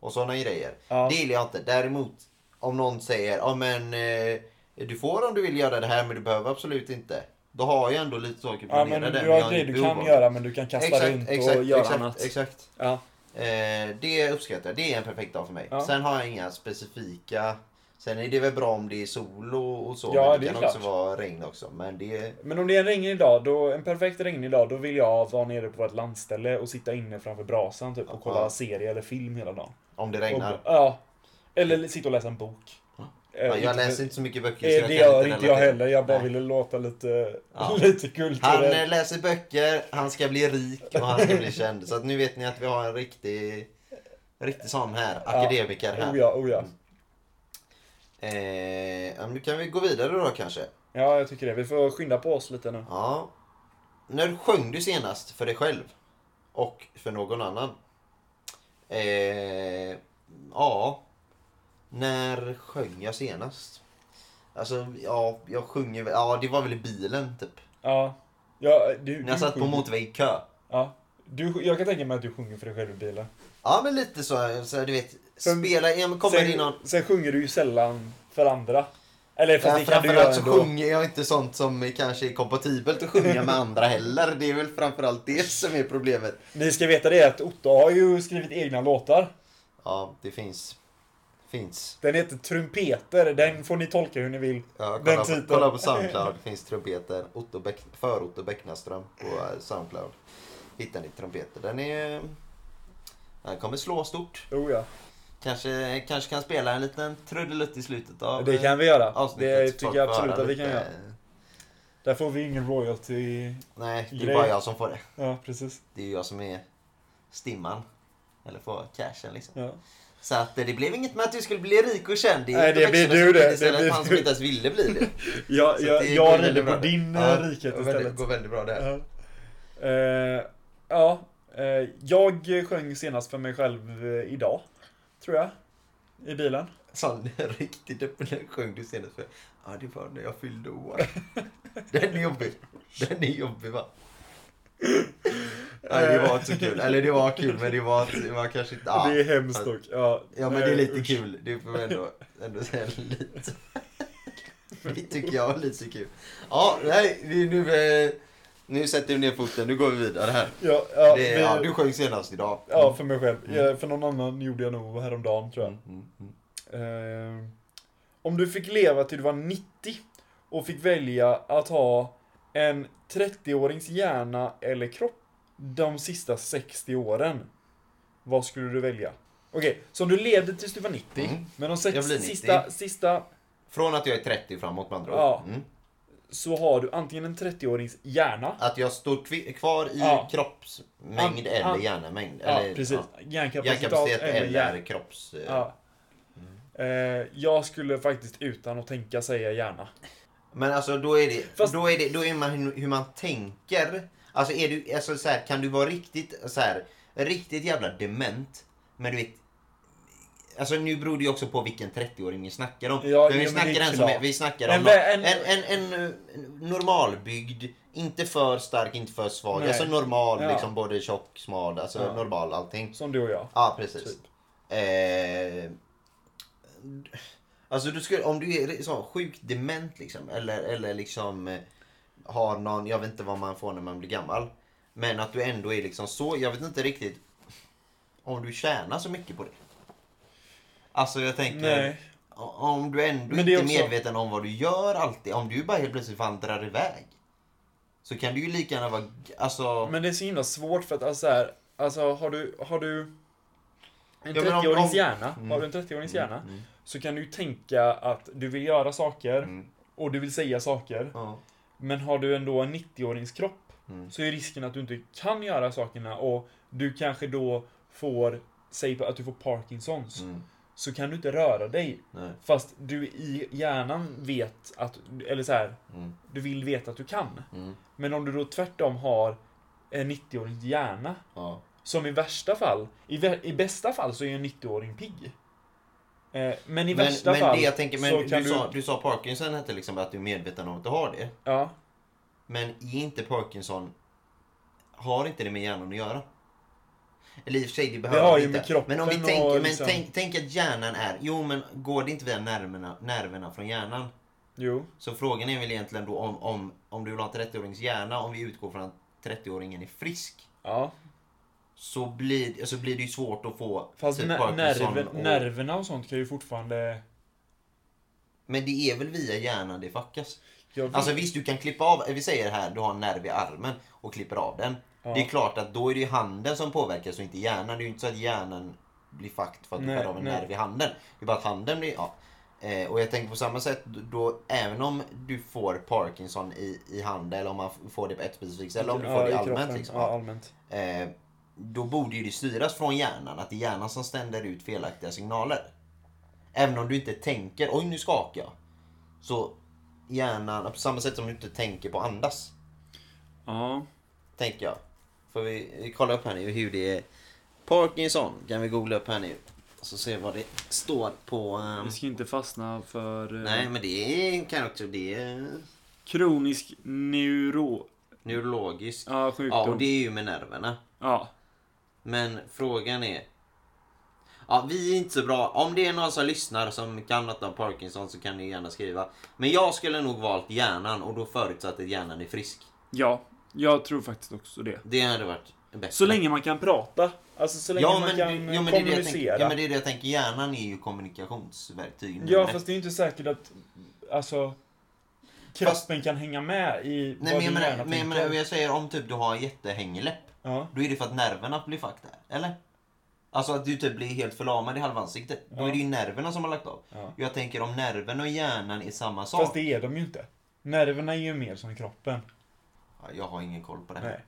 S2: Och sådana grejer.
S1: Ja.
S2: Det gillar jag inte. Däremot om någon säger ja men eh, du får om du vill göra det här men du behöver absolut inte. Då har jag ändå lite saker
S1: ja
S2: planerade.
S1: men
S2: men
S1: du
S2: jag
S1: har
S2: inget
S1: grejer du
S2: behov
S1: kan
S2: av.
S1: göra, men du kan kasta
S2: Exakt,
S1: runt
S2: exakt,
S1: och göra
S2: exakt,
S1: annat.
S2: Exakt.
S1: Ja.
S2: Eh, det uppskattar jag. Det är en perfekt dag för mig.
S1: Ja.
S2: Sen har jag inga specifika... Sen är det väl bra om det är sol och, och så.
S1: Ja,
S2: men
S1: det
S2: det,
S1: är
S2: kan
S1: klart.
S2: också vara regn också. Men det...
S1: Men om det är en regnig dag, då, en perfekt regnig dag, då vill jag vara nere på vårt landställe och sitta inne framför brasan typ, och kolla
S2: Ja.
S1: serie eller film hela dagen.
S2: Om det
S1: Och, eh,
S2: regnar.
S1: ja. Eller sitta och läsa en bok. Eh,
S2: Ja, jag
S1: inte-
S2: läser inte så mycket böcker. så
S1: Eh, Det
S2: kan
S1: gör inte jag
S2: relatera.
S1: heller, jag bara
S2: Nej.
S1: ville låta lite,
S2: Ja.
S1: lite
S2: Han
S1: kulturell.
S2: eh, läser böcker, han ska bli rik och han ska bli känd. Så att nu vet ni att vi har en riktig, riktig sån här. Akademiker här.
S1: Oh ja, oh ja.
S2: Eh, ja, men nu kan vi gå vidare då kanske.
S1: Ja, jag tycker det. Vi får skynda på oss lite nu.
S2: Ja. När sjöng du senast för dig själv? Och för någon annan? Eh, ja. När sjöng jag senast? Alltså, ja, jag sjunger väl... Ja, det var väl i bilen, typ.
S1: Ja. ja du,
S2: När jag
S1: du
S2: satt på
S1: sjunger-
S2: motorväg i kö.
S1: Ja. Du, jag kan tänka mig att du sjunger för dig själv i bilen.
S2: Ja, men lite så. så du vet,
S1: Sen-
S2: spela... Ja, men kommer
S1: sen,
S2: det någon...
S1: sen sjunger du ju sällan för andra. Eller fast
S2: Ja,
S1: det kan du göra
S2: framförallt så
S1: ändå.
S2: sjunger jag inte sånt som kanske är kompatibelt att sjunga med andra heller. Det är väl framförallt det som är problemet.
S1: Ni ska veta det att Otto har ju skrivit egna låtar.
S2: Ja, det finns. Finns.
S1: Den heter Trumpeter, den får ni tolka hur ni vill.
S2: Ja,
S1: Den
S2: kolla, på,
S1: titeln.
S2: kolla på Soundcloud. finns trumpeter. Otto Bäck, för Otto Bäcknaström på eh, Soundcloud. Hittar ni trumpeter. Den är... Den kommer slå stort.
S1: Oh ja.
S2: Kanske, kanske kan spela en liten trudelutt i slutet av
S1: Det
S2: eh,
S1: kan vi göra.
S2: avsnittet,
S1: Det
S2: så folk
S1: tycker jag
S2: får
S1: absolut
S2: höra
S1: att vi
S2: lite.
S1: kan göra. Där får vi ingen royalty.
S2: Nej, det är
S1: Grej.
S2: bara jag som får det.
S1: Ja, precis.
S2: Det är ju jag som är stimman. Eller får cashen liksom.
S1: Ja.
S2: Så att eh, det blev inget med att du skulle bli rik och känd.
S1: Nej,
S2: Otto
S1: det blir du
S2: Bäckström som
S1: det.
S2: inte
S1: Det
S2: säger att
S1: blir
S2: Han som
S1: du.
S2: inte ens ville bli det.
S1: Jag,
S2: Så
S1: jag,
S2: det går
S1: jag
S2: väldigt
S1: rider
S2: bra.
S1: på din
S2: Ja,
S1: eh, rikhet
S2: väldigt-
S1: istället.
S2: går väldigt bra det här.
S1: Ja. Eh, Ja. Eh, jag sjöng senast för mig själv eh, idag. Tror jag. I bilen.
S2: Sann, riktigt öppen den sjöng du senast för. Ja, det var när jag fyllde år. Den är jobbig. Den är jobbig va? Nej, det var inte så kul. Eller det var kul, men det var, det var kanske inte... Ja.
S1: det är hemskt dock. Ja,
S2: ja, men det är
S1: Eh,
S2: lite
S1: usch.
S2: kul. Det får man ändå, ändå säga lite. Det tycker jag är lite kul. Ja, nej, det är nu... eh, Nu sätter vi ner foten, nu går vi vidare här.
S1: Ja, ja,
S2: det,
S1: vi-
S2: ja, du Mm. sjöng senast idag.
S1: ja, för mig själv. Ja, för någon annan gjorde jag nog häromdagen tror jag.
S2: Mm, mm.
S1: Eh, om du fick leva till du var 90 och fick välja att ha en 30-årings hjärna eller kropp de sista 60 åren. Vad skulle du välja? Okej, så om du levde tills du var 90,
S2: Mm.
S1: men de sex,
S2: Jag blir 90.
S1: sista, sista
S2: Från att jag är 30 framåt med andra ord.
S1: Ja.
S2: Mm.
S1: så har du antingen en 30-årings hjärna,
S2: Att jag står kvi- kvar i
S1: Ja.
S2: kroppsmängd
S1: An-
S2: eller
S1: an-
S2: hjärnemängd.
S1: ja,
S2: eller,
S1: precis.
S2: ja.
S1: Hjärnkapacitet
S2: Hjärnkapacitet
S1: eller hjärna.
S2: eller kropps... eh,
S1: Ja. Eh, jag skulle faktiskt utan att tänka säga hjärna.
S2: Men alltså då är det,
S1: Fast-
S2: då är det, då är man hur, hur man tänker. Alltså är du, alltså så här, kan du vara riktigt så här, riktigt jävla dement. Men du vet, Alltså nu beror det ju också på vilken 30-åring vi snackar om.
S1: Ja,
S2: men
S1: jo,
S2: vi
S1: men det
S2: snackar,
S1: är
S2: en som är,
S1: klart.
S2: vi snackar
S1: Men
S2: om
S1: vä- en-
S2: en, en, en, eh, normalbyggd, inte för stark, inte för svag.
S1: Nej.
S2: Alltså normal,
S1: Ja.
S2: liksom både tjock, smal, alltså
S1: Ja.
S2: normal allting.
S1: Som du och jag.
S2: Ja, precis.
S1: Typ.
S2: Eh, alltså du skulle, om du är så sjukt dement liksom, eller, eller liksom eh, har någon, jag vet inte vad man får när man blir gammal. Men att du ändå är liksom så, jag vet inte riktigt om du tjänar så mycket på det. Alltså jag tänker,
S1: Nej.
S2: o- om du ändå
S1: Men
S2: inte
S1: det är
S2: är
S1: också-
S2: medveten om vad du gör alltid, om du bara helt plötsligt vandrar iväg. Så kan du ju lika gärna vara, g- alltså...
S1: Men det är så himla svårt för att alltså, så här, alltså har du, har du en
S2: Ja, men om-
S1: 30-årings
S2: om-
S1: hjärna,
S2: Mm.
S1: har du en 30-årings hjärna,
S2: Mm.
S1: så kan du ju tänka att du vill göra saker
S2: Mm.
S1: och du vill säga saker.
S2: Ja.
S1: Men har du ändå en 90-årings kropp
S2: Mm.
S1: så är risken att du inte kan göra sakerna och du kanske då får, säg att du får Parkinsons,
S2: Mm.
S1: så kan du inte röra dig.
S2: Nej.
S1: Fast du i hjärnan vet att, eller så här,
S2: Mm.
S1: du vill veta att du kan.
S2: Mm.
S1: Men om du då tvärtom har en 90-årings hjärna
S2: Ja.
S1: Som i värsta fall, i, vä- i bästa fall så är ju en 90-åring pigg. Eh, men i
S2: men,
S1: värsta
S2: men
S1: fall
S2: det jag tänker,
S1: så
S2: men
S1: kan
S2: du, Sa, du sa Parkinson hette liksom att du är medveten om att du har det.
S1: Ja,
S2: Men är inte Parkinson... Har inte det med hjärnan att göra? Eller i och för sig, det behöver
S1: har
S2: det
S1: ju
S2: inte.
S1: med kroppen
S2: men om vi
S1: och
S2: tänker, men
S1: liksom-
S2: tänk, tänk att hjärnan är... Jo, men går det inte via nerverna, nerverna från hjärnan?
S1: jo.
S2: Så frågan är väl egentligen då om, om, om du vill ha en 30-årings hjärna, om vi utgår från att 30-åringen är frisk.
S1: Ja.
S2: Så blir, så blir det ju svårt att få
S1: Fast
S2: typ
S1: ner-
S2: Parkinson
S1: nerven,
S2: och-
S1: nerverna och sånt kan ju fortfarande...
S2: Men det är väl via hjärnan det fuckas?
S1: Jag vet-
S2: Alltså visst, du kan klippa av, vi säger här, du har en nerv i armen och klipper av den.
S1: Ja.
S2: Det är klart att då är det ju handen som påverkas och inte hjärnan. Det är ju inte så att hjärnan blir fucked för att
S1: Nej,
S2: du skär av en
S1: nej.
S2: nerv i handen. Det är bara att handen blir, ja. Eh, och jag tänker på samma sätt, då även om du får Parkinson i, i handen eller om man f- får det på ett specifikt ställe, om du får
S1: ja,
S2: det
S1: i
S2: allmänt
S1: kroppen.
S2: liksom.
S1: Ja, allmänt.
S2: ja. Eh, då borde ju det styras från hjärnan, att det är hjärnan som sänder ut felaktiga signaler. Även om du inte tänker, oj nu skakar jag. Så hjärnan, på samma sätt som du inte tänker på att andas.
S3: Ja.
S2: Tänker jag. Får vi eh, kolla upp här nu hur det är. Parkinson kan vi googla upp här nu. Så se vad det står på. ehm,
S3: Vi ska inte fastna för eh,
S2: Nej men det är, kan också, det är
S3: kronisk neuro...
S2: neurologisk.
S3: Ja, sjukdom.
S2: Ja och det är ju med nerverna.
S3: ja.
S2: Men frågan är... Ja, vi är inte så bra. Om det är någon som lyssnar som kan något om Parkinson så kan ni gärna skriva. Men jag skulle nog valt hjärnan och då förutsatt att hjärnan är frisk.
S3: Ja, jag tror faktiskt också det.
S2: Det hade varit bättre.
S3: Så länge man kan prata.
S1: Alltså så länge
S2: ja,
S1: man
S2: men,
S1: kan
S2: ja, men det är det jag
S1: kommunicera.
S2: tänker. Ja, men det är det jag tänker. Hjärnan är ju kommunikationsverktyg. nummer
S1: Ja,
S2: ett.
S1: fast det är ju inte säkert att... Alltså... Kroppen kan hänga med i
S2: Nej,
S1: vad
S2: men
S1: din
S2: jag
S1: hjärna
S2: menar, men jag, menar,
S1: tänker.
S2: jag säger om typ du har en jättehängläpp.
S1: Ja.
S2: Då är det för att nerverna blir fucked där. Eller? Alltså att du typ blir helt förlamad i halva ansiktet. Då
S1: Ja.
S2: är det ju nerverna som har lagt av.
S1: Ja.
S2: Jag tänker om nerven och hjärnan är samma sak.
S1: Fast det är de ju inte. Nerverna är ju mer som kroppen.
S2: Ja, Jag har ingen koll på det här.
S1: Nej.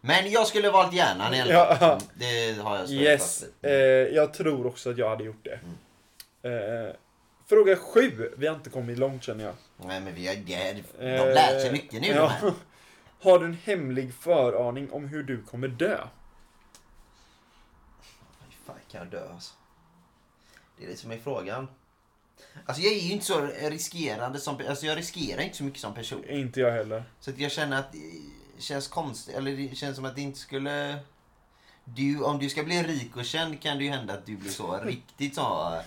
S2: Men jag skulle valt hjärnan i alla fall.
S1: Ja.
S2: Mm, Det har jag stått
S1: Yes,
S2: fast vid.
S1: eh, jag tror också att jag hade gjort det.
S2: Mm.
S1: Eh, fråga sju, vi har inte kommit långt känner jag.
S2: Nej men vi har, de
S1: Eh,
S2: lär sig mycket nu de
S1: ja.
S2: här.
S1: Har du en hemlig föraning om hur du kommer dö?
S2: Hur fan kan jag dö alltså? Det är det som är frågan. Alltså jag är ju inte så riskerande som... Alltså jag riskerar inte så mycket som person.
S1: Inte jag heller.
S2: Så att jag känner att det känns konstigt, eller det känns som att det inte skulle... Du, om du ska bli rik och känd kan det ju hända att du blir så riktigt så... eh,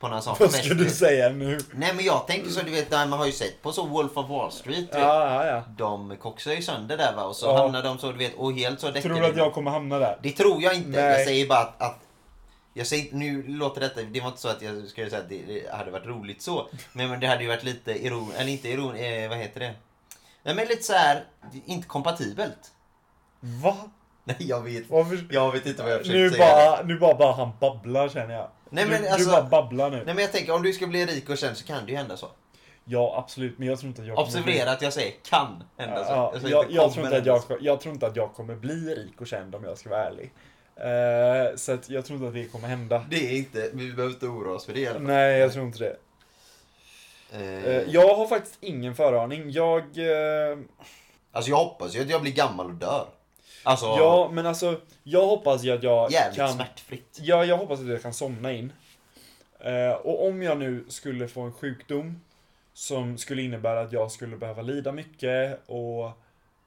S2: På någon sån
S1: Vad ska du
S2: fest.
S1: säga nu?
S2: Nej men jag tänker så, du vet, nej, man har ju sett på så Wolf of Wall Street. du vet.
S1: Ja, ja, ja.
S2: De koksar ju sönder där va, och så
S1: Ja.
S2: hamnar de så, du vet, och helt så
S1: Tror du att jag kommer hamna där?
S2: Det tror jag inte.
S1: Nej.
S2: Jag säger bara att, att jag säger, inte- nu låter detta, det var inte så att jag skulle säga att det- det hade varit roligt så. Men, men det hade ju varit lite iron, eller inte iron, eh, vad heter det? Nej men lite så här, det är inte kompatibelt.
S1: Va?
S2: Nej jag vet,
S1: Varför?
S2: jag vet inte vad jag försökte
S1: Nu
S2: säga. där.
S1: bara, nu bara, bara han babblar känner jag.
S2: Nej, men
S1: du,
S2: alltså-
S1: du bara babblar nu.
S2: Nej men jag tänker om du ska bli rik och känd så kan det ju hända så.
S1: Ja, absolut. Men jag tror inte att jag kommer bli-
S2: Observera att jag säger kan hända så.
S1: Ja,
S2: säger
S1: jag,
S2: Alltså, inte
S1: jag,
S2: kommer
S1: tror inte att
S2: hända
S1: jag,
S2: så.
S1: jag tror inte att jag kommer bli rik och känd om jag ska vara ärlig. Eh, så att jag tror inte att det kommer hända.
S2: Det är inte, vi behöver inte oroa oss för det i alla fall.
S1: Nej, jag tror inte det.
S2: Eh,
S1: Eh, jag har faktiskt ingen föraning. Jag... eh,
S2: Alltså jag hoppas ju att jag blir gammal och dör. Alltså,
S1: ja, men alltså. Jag hoppas ju att jag
S2: jävligt
S1: kan...
S2: smärtfritt.
S1: Ja, jag hoppas att jag kan somna in. Eh, och om jag nu skulle få en sjukdom som skulle innebära att jag skulle behöva lida mycket och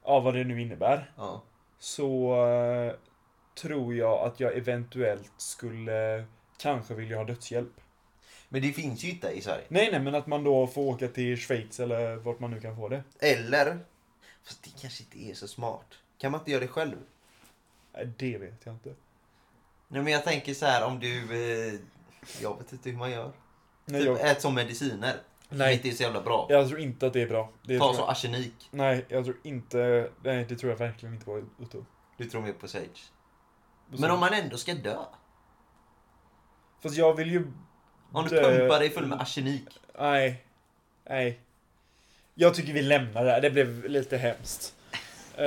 S1: ja, vad det nu innebär.
S2: Ja.
S1: så eh, tror jag att jag eventuellt skulle kanske vilja ha dödshjälp.
S2: Men det finns ju inte i Sverige.
S1: Nej, nej, men att man då får åka till Schweiz eller vart man nu kan få det.
S2: Eller? Fast det kanske inte är så smart. Kan man inte göra det själv?
S1: Eh, Det vet jag inte.
S2: Nej men jag tänker så här om du... Eh, jag vet inte hur man gör.
S1: Nej,
S2: typ
S1: jag,
S2: ät som mediciner. Nej.
S1: nej,
S2: Det är så jävla bra.
S1: jag tror inte att det är bra. Det
S2: Ta
S1: tror
S2: så
S1: jag,
S2: arsenik.
S1: nej, jag tror inte... Nej, det tror jag verkligen inte var Otto.
S2: Du tror mer på sage. Men om man ändå ska dö.
S1: Fast jag vill ju...
S2: Om du
S1: Dö.
S2: pumpar dig full med arsenik.
S1: Nej. Nej. Jag tycker vi lämnar det här. Det blev lite hemskt. Eh,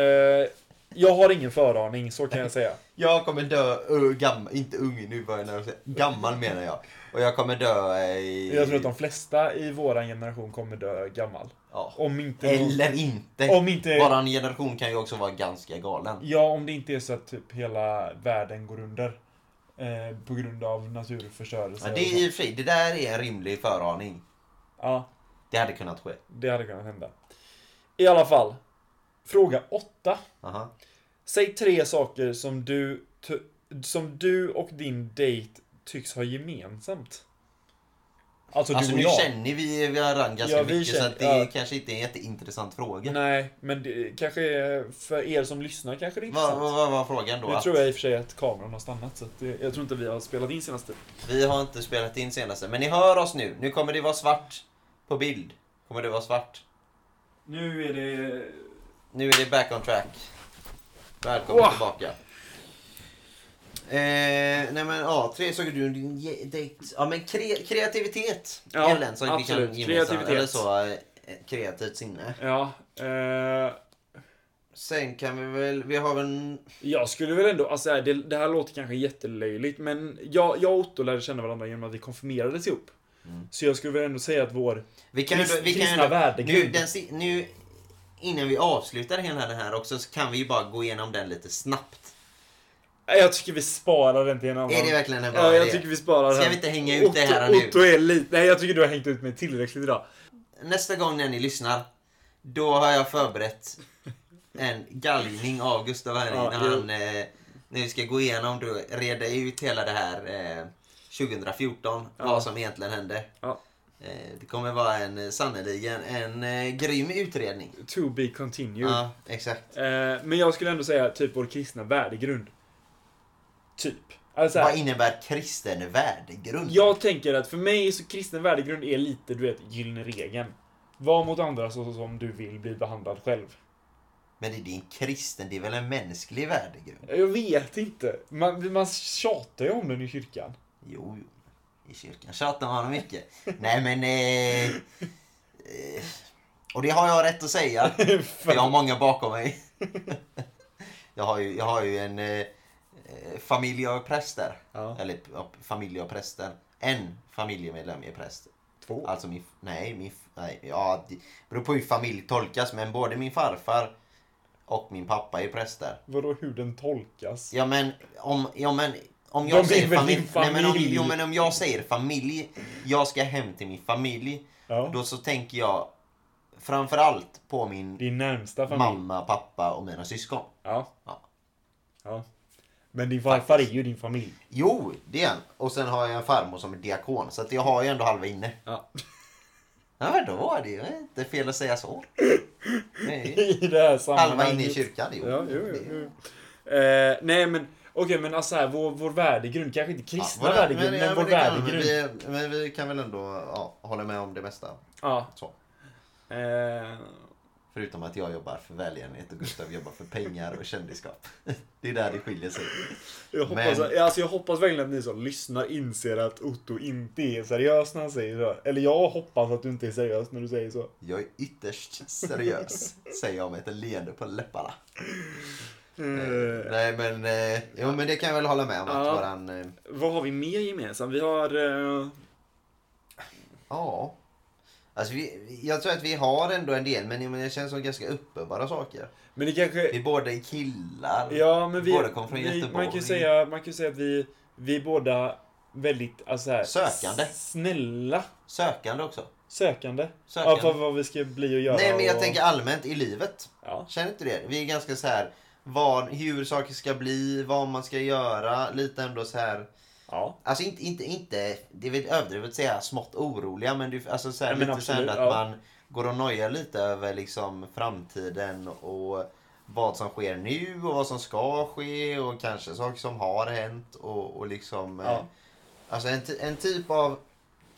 S1: jag har ingen föraning, så kan jag säga.
S2: Jag kommer dö ö, gammal, inte ung nu var jag när jag säger. Gammal menar jag. Och jag kommer dö eh, i...
S1: Jag tror att de flesta i våran generation kommer dö gammal.
S2: ja.
S1: Om inte...
S2: Eller inte.
S1: Om inte...
S2: Bara en generation kan ju också vara ganska galen.
S1: Ja, om det inte är så att typ hela världen går under. Eh, på grund av naturförstörelse.
S2: Ja,
S1: och
S2: det är
S1: sånt.
S2: i och för sig, det där är en rimlig föraning.
S1: ja,
S2: Det hade kunnat ske.
S1: det hade kunnat hända. I alla fall. Fråga 8.
S2: Aha.
S1: Säg tre saker som du, t- som du och din dejt tycks ha gemensamt. Alltså,
S2: Alltså
S1: du och
S2: nu
S1: jag.
S2: känner vi varandra ganska
S1: Ja, vi
S2: mycket så
S1: känner-
S2: att det
S1: ja.
S2: kanske inte är en jätteintressant fråga.
S1: Nej, men det, kanske är- för er som lyssnar kanske det är
S2: Vad
S1: intressant.
S2: vad- vad var frågan då?
S1: Nu
S2: Att
S1: tror jag i och för sig att kameran har stannat så att det, jag tror inte vi har spelat in senaste.
S2: Vi har inte spelat in senaste, men ni hör oss nu. Nu kommer det vara svart på bild. Kommer det vara svart.
S1: Nu är det...
S2: Nu är det back on track. Välkommen
S1: Åh.
S2: tillbaka. Eh, nej men ja, tre saker du... din ge- dejt- Ja men kre, kreativitet.
S1: Ja,
S2: är väl en sak vi kan
S1: absolut.
S2: gemensamt-
S1: Kreativitet.
S2: Eller så, eh, kreativt sinne.
S1: Ja. Eh,
S2: Sen kan vi väl, vi har väl en...
S1: jag skulle väl ändå... Alltså det, det här låter kanske jättelöjligt men jag, jag och Otto lärde känna varandra genom att vi konfirmerades ihop.
S2: Mm.
S1: Så jag skulle väl ändå säga att vår...
S2: Vi kan,
S1: Krist-
S2: vi kan
S1: kristna värdegrund.
S2: nu, den, si- nu, innan vi avslutar hela den här också så kan vi ju bara gå igenom den lite snabbt.
S1: Nej, Jag tycker vi sparar den till en annan.
S2: Är det verkligen en bra
S1: Ja, jag
S2: idé?
S1: tycker vi sparar
S2: Ska
S1: den.
S2: vi inte hänga ut det här
S1: Otto,
S2: nu?
S1: Otto är lite... Nej, jag tycker du har hängt ut mig tillräckligt idag.
S2: Nästa gång när ni lyssnar, då har jag förberett en galgning av Gustav Herring
S1: Ja,
S2: när
S1: jo.
S2: han, eh, när vi ska gå igenom då, reda ut hela det här eh, 2014,
S1: Ja.
S2: vad som egentligen hände.
S1: Ja.
S2: Eh, det kommer vara en, eh, sannerligen en eh, grym utredning.
S1: To be continued.
S2: Ja, exakt.
S1: Eh, men jag skulle ändå säga typ vår kristna värdegrund. Typ. Alltså,
S2: Vad innebär kristen värdegrund?
S1: jag tänker att för mig så kristen värdegrund är lite, du vet, gyllene regeln. Var mot andra så som du vill bli behandlad själv.
S2: Men det är din kristen, det är väl en mänsklig värdegrund?
S1: Jag vet inte. Man, man tjatar ju om den i kyrkan.
S2: Jo, jo. I kyrkan tjatar man mycket. Nej men... Eh, eh, och det har jag rätt att säga. För jag har många bakom mig. jag, har ju, jag har ju en eh, eh, familj av präster.
S1: Ja.
S2: Eller ja, familj av präster. En familjemedlem är präst.
S1: Två.
S2: Alltså min, nej, min, nej, ja, det beror på hur familj tolkas men både min farfar och min pappa är präster.
S1: Vadå hur den tolkas?
S2: Ja men om, ja, men, om
S1: De
S2: jag
S1: är
S2: säger
S1: väl
S2: familj,
S1: din
S2: Nej, men om,
S1: familj?
S2: jo, men om jag säger familj, jag ska hem till min familj.
S1: Ja.
S2: Då så tänker jag framförallt på min
S1: Din närmsta familj.
S2: mamma, pappa och mina syskon.
S1: Ja.
S2: Ja.
S1: ja. Men din farfar är ju din familj.
S2: Jo, det är en. Och sen har jag en farmor som är diakon. Så att jag har ju ändå halva inne.
S1: Ja.
S2: Ja men då var det ju inte fel att säga så. Nej.
S1: I det här sammanhanget.
S2: Halva inne i kyrkan, jo.
S1: Ja, jo, jo,
S2: Det-
S1: jo. Eh, nej men, okej men alltså här, vår, vår värdegrund, kanske inte
S2: Ja,
S1: kristna
S2: vår-
S1: värdegrund, men,
S2: ja,
S1: vår
S2: det kan- men
S1: värdegrund.
S2: vi- Men vi kan väl ändå ja, hålla med om det mesta.
S1: Ja.
S2: Så.
S1: Eh,
S2: Förutom att jag jobbar för välgörenhet och Gustav jobbar för pengar och kändisskap. Det är där det skiljer sig.
S1: jag, hoppas, alltså, jag hoppas verkligen att ni som lyssnar inser att Otto inte är seriös när han säger så. Eller jag hoppas att du inte är seriös när du säger så.
S2: Jag är ytterst seriös, säger jag med ett leende på läpparna.
S1: Eh,
S2: Nej men, eh, jo men det kan jag väl hålla med om att
S1: Ja.
S2: våran... eh,
S1: vad har vi mer gemensamt? Vi har... Eh,
S2: Ja. Alltså vi, jag tror att vi har ändå en del, men men det känns som ganska uppenbara saker.
S1: men det kanske...
S2: Vi båda är killar.
S1: Ja, men vi,
S2: båda kommer från
S1: vi,
S2: Göteborg.
S1: man, kan ju säga, man kan ju säga att vi, vi är båda väldigt alltså här,
S2: Sökande.
S1: snälla
S2: Sökande också.
S1: sökande.
S2: Sökande.
S1: Ja, för vad vi ska bli och göra.
S2: Nej men jag
S1: och,
S2: tänker allmänt i livet.
S1: Ja.
S2: Känner inte det? Vi är ganska så här vad, hur saker ska bli, vad man ska göra, lite ändå så här
S1: ja.
S2: Alltså inte, inte, inte det är väl överdrivet att säga smått oroliga men det är alltså så här,
S1: Ja, men
S2: lite så här
S1: absolut,
S2: att
S1: ja.
S2: man går och nojar lite över liksom framtiden och vad som sker nu och vad som ska ske och kanske saker som har hänt och, och liksom
S1: Ja.
S2: eh, Alltså en, ty- en typ av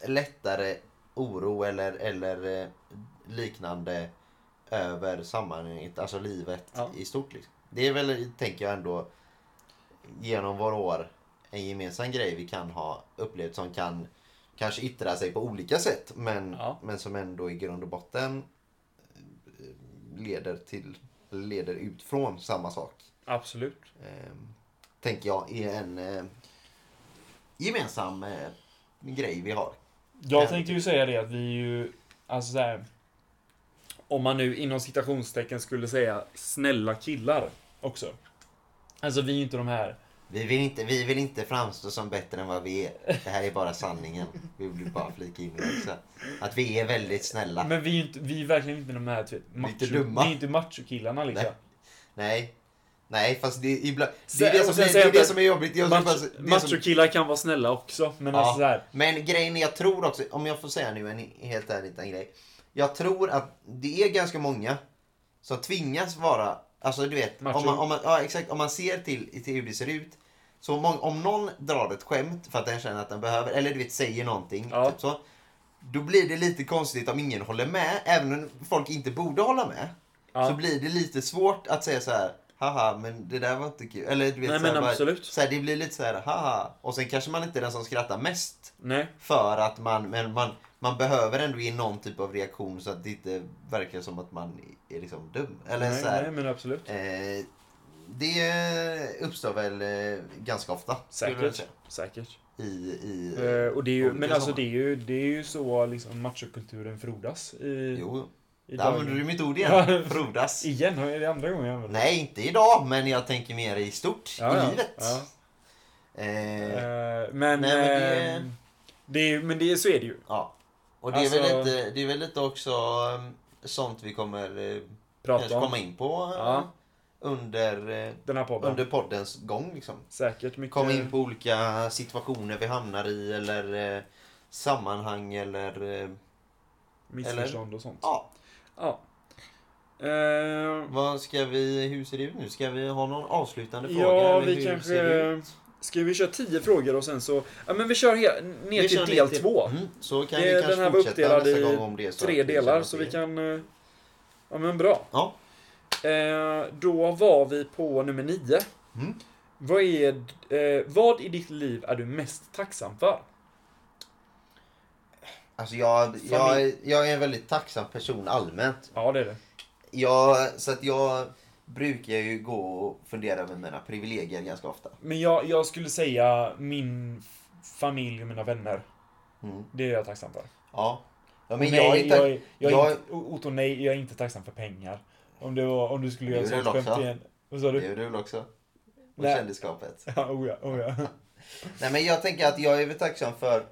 S2: lättare oro eller, eller eh, liknande över sammanhanget, alltså livet
S1: Ja.
S2: i stort. Liksom. Det är väl, tänker jag ändå, genom våra år en gemensam grej vi kan ha upplevt som kan kanske yttra sig på olika sätt men,
S1: Ja.
S2: men som ändå i grund och botten eh, leder till leder ut från samma sak.
S1: Absolut.
S2: Ehm, tänker jag är en eh, gemensam eh, grej vi har.
S1: Jag tänkte ju säga det att vi är ju, alltså så här, Om man nu inom citationstecken skulle säga snälla killar också. Alltså vi är ju inte de här
S2: Vi vill, inte, vi vill inte framstå som bättre än vad vi är. Det här är bara sanningen. Vi vill bara flika in det också. Att vi är väldigt snälla.
S1: Men vi är, ju inte, vi är verkligen inte de här typ,
S2: är
S1: macho,
S2: inte dumma.
S1: Vi är inte machokillarna liksom.
S2: Nej. Nej, fast det, är ibland, det är det
S1: Och
S2: som,
S1: sen
S2: är, det
S1: säger
S2: är, det
S1: jag
S2: som är jobbigt. Jag
S1: Macho,
S2: fast- det är som-
S1: machokillar kan vara snälla också, men
S2: Ja.
S1: alltså såhär.
S2: Men grejen är, jag tror också, om jag får säga nu en helt ärlig liten grej. Jag tror att det är ganska många som tvingas vara, alltså du vet,
S1: Macho.
S2: om man, om man, ja, exakt, om man ser till, till hur det ser ut. Så mång- om någon drar ett skämt för att den känner att den behöver, eller du vet, säger någonting.
S1: Ja.
S2: Typ så, då blir det lite konstigt om ingen håller med, även om folk inte borde hålla med.
S1: Ja.
S2: Så blir det lite svårt att säga så här. Haha, men det där var inte kul. Eller du vet,
S1: Nej,
S2: så
S1: men
S2: här, bara-
S1: absolut.
S2: Så här, det blir lite så här, haha. Och sen kanske man inte är den som skrattar mest.
S1: Nej.
S2: För att man, men man, man behöver ändå ge någon typ av reaktion så att det inte verkar som att man är liksom dum. Eller
S1: Nej,
S2: så här,
S1: nej, men absolut.
S2: eh, det uppstår väl eh, ganska ofta. skulle jag
S1: Säkert.
S2: säga.
S1: Säkert.
S2: I, i,
S1: Eh, och det är ju,
S2: olika
S1: men alltså det
S2: sammanhang.
S1: är ju, det är ju så liksom machokulturen frodas i...
S2: Jo,
S1: i
S2: där använder du mitt ord
S1: Ja.
S2: igen. Frodas.
S1: Igen, är det andra gången jag använder
S2: Nej, inte idag, men jag tänker mer i stort.
S1: Ja,
S2: I
S1: ja,
S2: livet.
S1: ja.
S2: Eh,
S1: Eh, men...
S2: Nej, men det-
S1: eh, det är, ju- men det, är- så är det ju.
S2: ja. Och det, är väl
S1: Alltså-
S2: lite, det är väl lite också um, sånt vi kommer eh, kanske
S1: Prata om.
S2: komma in på eh,
S1: Ja.
S2: under eh,
S1: Den här podden.
S2: under poddens gång. Liksom.
S1: Säkert mycket...
S2: Kom in på olika situationer vi hamnar i eller eh, sammanhang eller... Eh,
S1: Missförstånd och sånt.
S2: ja,
S1: Ja. Eh,
S2: vad ska vi... Hur ser det ut nu? Ska vi ha någon avslutande fråga?
S1: Ja,
S2: eller
S1: vi
S2: hur
S1: kanske-
S2: ser det ut?
S1: Ska vi köra 10 frågor och sen så... Ja men vi kör he- ner
S2: Vi
S1: till
S2: kör
S1: del
S2: till-
S1: 2.
S2: Mm, så kan
S1: Det-
S2: vi kanske
S1: den här var
S2: fortsätta
S1: uppdelad
S2: nästa
S1: i
S2: gång om det. är Så
S1: Tre
S2: att vi
S1: delar
S2: känner
S1: så
S2: att
S1: vi
S2: är-
S1: kan... eh, Ja men bra.
S2: Ja,
S1: Eh, då var vi på nummer 9.
S2: Mm.
S1: Vad, är, eh, vad i ditt liv är du mest tacksam för?
S2: alltså jag, jag,
S1: Familj.
S2: jag är en väldigt tacksam person allmänt.
S1: Ja det är det.
S2: Jag, så att jag brukar ju gå och fundera över mina privilegier ganska ofta.
S1: Men jag, jag skulle säga min f- familj och mina vänner.
S2: Mm.
S1: Det är jag tacksam för.
S2: Ja. ja men
S1: nej,
S2: jag är tack-
S1: jag, är- jag, är
S2: jag-
S1: inte, O- Otto, nej, jag är inte tacksam för pengar. Om, det var, om du skulle göra
S2: Det
S1: ett
S2: gjorde
S1: sånt
S2: du
S1: skämt
S2: också.
S1: igen. Vad sa
S2: Det
S1: du?
S2: är du väl också? Och
S1: Nej.
S2: kändisskapet.
S1: Ja, oh ja, oh ja.
S2: Nej men jag tänker att jag är väl tacksam för,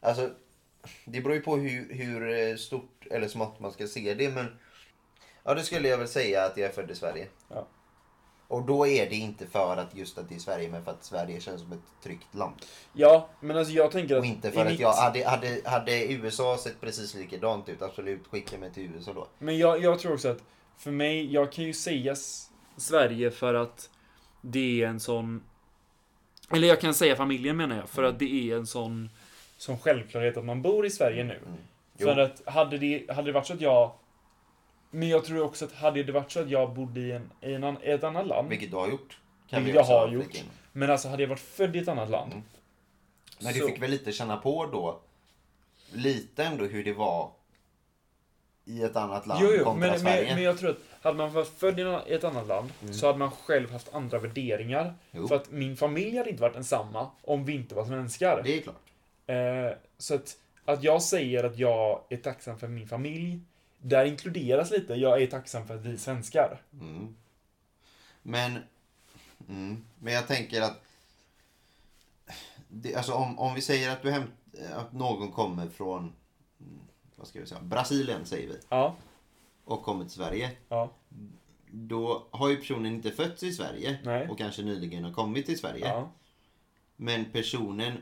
S2: alltså det beror ju på hur, hur eh, stort eller smått man ska se det men ja då skulle jag väl säga att jag är född i Sverige.
S1: Ja.
S2: Och då är det inte för att just att det är Sverige men för att Sverige känns som ett tryggt land.
S1: Ja, men alltså jag tänker att...
S2: Och inte
S1: i
S2: för att
S1: mitt-
S2: jag, hade, hade, hade USA sett precis likadant ut absolut skicka mig till USA då.
S1: Men jag, jag tror också att, för mig, jag kan ju säga s- Sverige för att det är en sån...
S3: Eller jag kan säga familjen menar jag, för att det är en sån...
S1: Som Mm. självklarhet att man bor i Sverige nu.
S2: Mm.
S1: För att hade det, hade det varit så att jag... Men jag tror också att hade det varit så att jag bodde i, en, i en, an- ett annat land.
S2: Vilket du har gjort.
S1: Vilket
S2: vi
S1: jag
S2: också
S1: har
S2: flika
S1: gjort.
S2: in.
S1: Men alltså hade jag varit född i ett annat land.
S2: Mm. Men du
S1: så-
S2: fick väl lite känna på då, lite ändå hur det var i ett annat land
S1: Jo, jo,
S2: kontra
S1: men, men,
S2: Sverige. Mm.
S1: men jag tror att hade man varit född i en- i ett annat land så hade man själv haft andra värderingar.
S2: Jo.
S1: För att min familj hade inte varit densamma om vi inte var svenskar.
S2: Det är klart.
S1: Eh, så att, att jag säger att jag är tacksam för min familj, där inkluderas lite, jag är tacksam för att vi är svenskar.
S2: Mm. Men, mm. men jag tänker att, det, alltså om, om vi säger att, du hämt, att någon kommer från, mm, vad ska vi säga, Brasilien säger vi,
S1: Ja,
S2: och kommer till Sverige.
S1: ja,
S2: Då har ju personen inte fötts i Sverige
S1: Nej.
S2: och kanske nyligen har kommit till Sverige.
S1: ja.
S2: Men personen,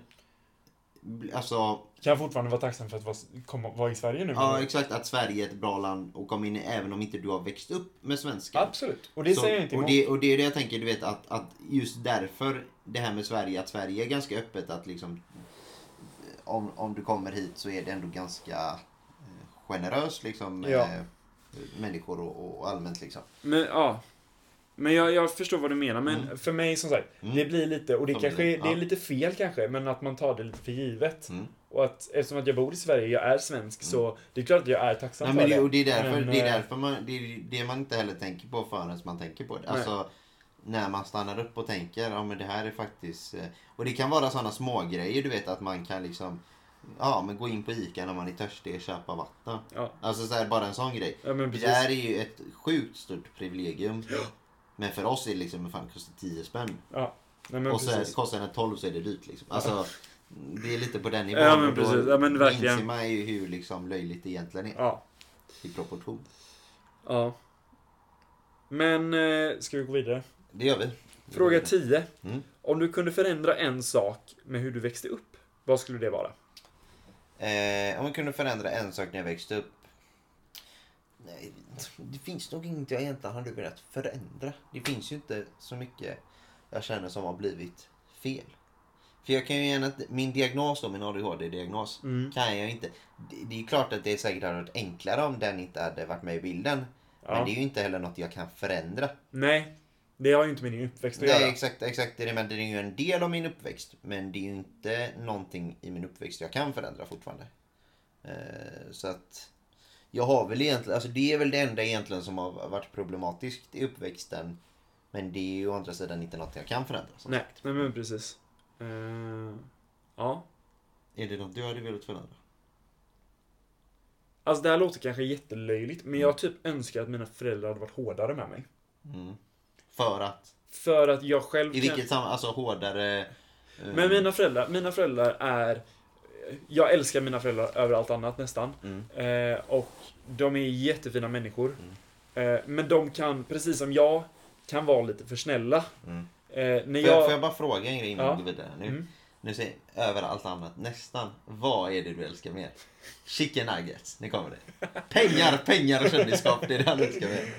S2: bl- alltså
S1: Kan jag fortfarande vara tacksam för att vara, komma, vara i Sverige nu?
S2: Ja,
S1: menar du?
S2: exakt. Att Sverige är ett bra land att komma in i även om inte du har växt upp med svenska.
S1: Absolut, och det
S2: Så-
S1: säger jag inte
S2: och
S1: emot.
S2: det, och det är det jag tänker, du vet att, att just därför det här med Sverige, att Sverige är ganska öppet att liksom om, om du kommer hit så är det ändå ganska eh, generöst liksom med
S1: Ja.
S2: eh, människor och, och allmänt liksom.
S3: Men ja. Men jag, jag förstår vad du menar, men...
S1: Men för mig som sagt,
S2: Mm.
S1: det blir lite, och det
S2: Som
S1: kanske
S2: det,
S1: är- det är
S2: ja.
S1: lite fel kanske, men att man tar det lite för givet.
S2: Mm.
S1: Och att eftersom att jag bor i Sverige, jag är svensk, så det är klart att jag är tacksam
S2: Nej,
S1: för
S2: men det,
S1: det.
S2: och det är därför,
S1: Men,
S2: det, är
S1: eh,
S2: därför man, det, är det man inte heller tänker på förrän man tänker på det.
S1: Nej.
S2: Alltså, när man stannar upp och tänker, ja men det här är faktiskt... eh, Och det kan vara sådana små grejer du vet att man kan liksom... Ja, men gå in på ICA när man är törstig och köpa vatten.
S1: Ja.
S2: Alltså så här, bara en sån grej.
S1: Ja, men
S2: det
S1: precis.
S2: där är ju ett sjukt stort privilegium. Men för oss är det liksom, fan det kostar 10 spänn.
S1: Ja. Nej, men
S2: och så är,
S1: precis.
S2: kostar den 12 så är det dyrt liksom. Alltså, det är lite på den nivån.
S3: Ja, men
S2: och då
S3: precis. Ja, men verkligen.
S2: inser man ju hur liksom löjligt det egentligen är
S1: Ja.
S2: i proportion.
S1: Ja. Men, eh, ska vi gå vidare?
S2: Det gör vi.
S1: Fråga 10.
S2: Mm.
S1: Om du kunde förändra en sak med hur du växte upp, vad skulle det vara?
S2: Eh, om jag kunde förändra en sak när jag växte upp. Nej, det finns nog inget jag egentligen hade velat förändra. Det finns ju inte så mycket jag känner som har blivit fel. För jag kan ju gärna, inte- min diagnos då, min ADHD-diagnos,
S1: Mm.
S2: kan jag inte. Det, det är ju klart att det säkert hade varit enklare om den inte hade varit med i bilden.
S1: Ja.
S2: Men det är ju inte heller något jag kan förändra.
S1: Nej, det har ju inte med din uppväxt att
S2: Nej,
S1: göra.
S2: exakt, exakt. Det är, det, men det är ju en del av min uppväxt. Men det är ju inte någonting i min uppväxt jag kan förändra fortfarande. Eh, så att... Jag har väl egentligen, alltså det är väl det enda egentligen som har varit problematiskt i uppväxten. Men det är ju å andra sidan inte något jag kan förändra. Så.
S1: Nej, nej men precis. Eh, ja.
S2: Är det något du hade velat förändra?
S1: Alltså det här låter kanske jättelöjligt, men jag typ önskar att mina föräldrar hade varit hårdare med mig.
S2: Mm. För att?
S1: För att jag själv
S2: I vilket sammanhang? Alltså hårdare... eh,
S1: Men mina föräldrar, mina föräldrar är... Jag älskar mina föräldrar över allt annat nästan.
S2: Mm.
S1: Eh, och de är jättefina människor. Eh, men de kan, precis som jag, kan vara lite för snälla.
S2: Mm.
S1: Eh, när
S2: Får jag,
S1: jag...
S2: får jag bara fråga en grej innan
S1: Ja.
S2: du går vidare nu?
S1: Mm.
S2: Nu säger jag över allt annat nästan. Vad är det du älskar mer? Chicken nuggets, nu kommer det. Pengar, pengar och kändisskap, det är det han älskar mer.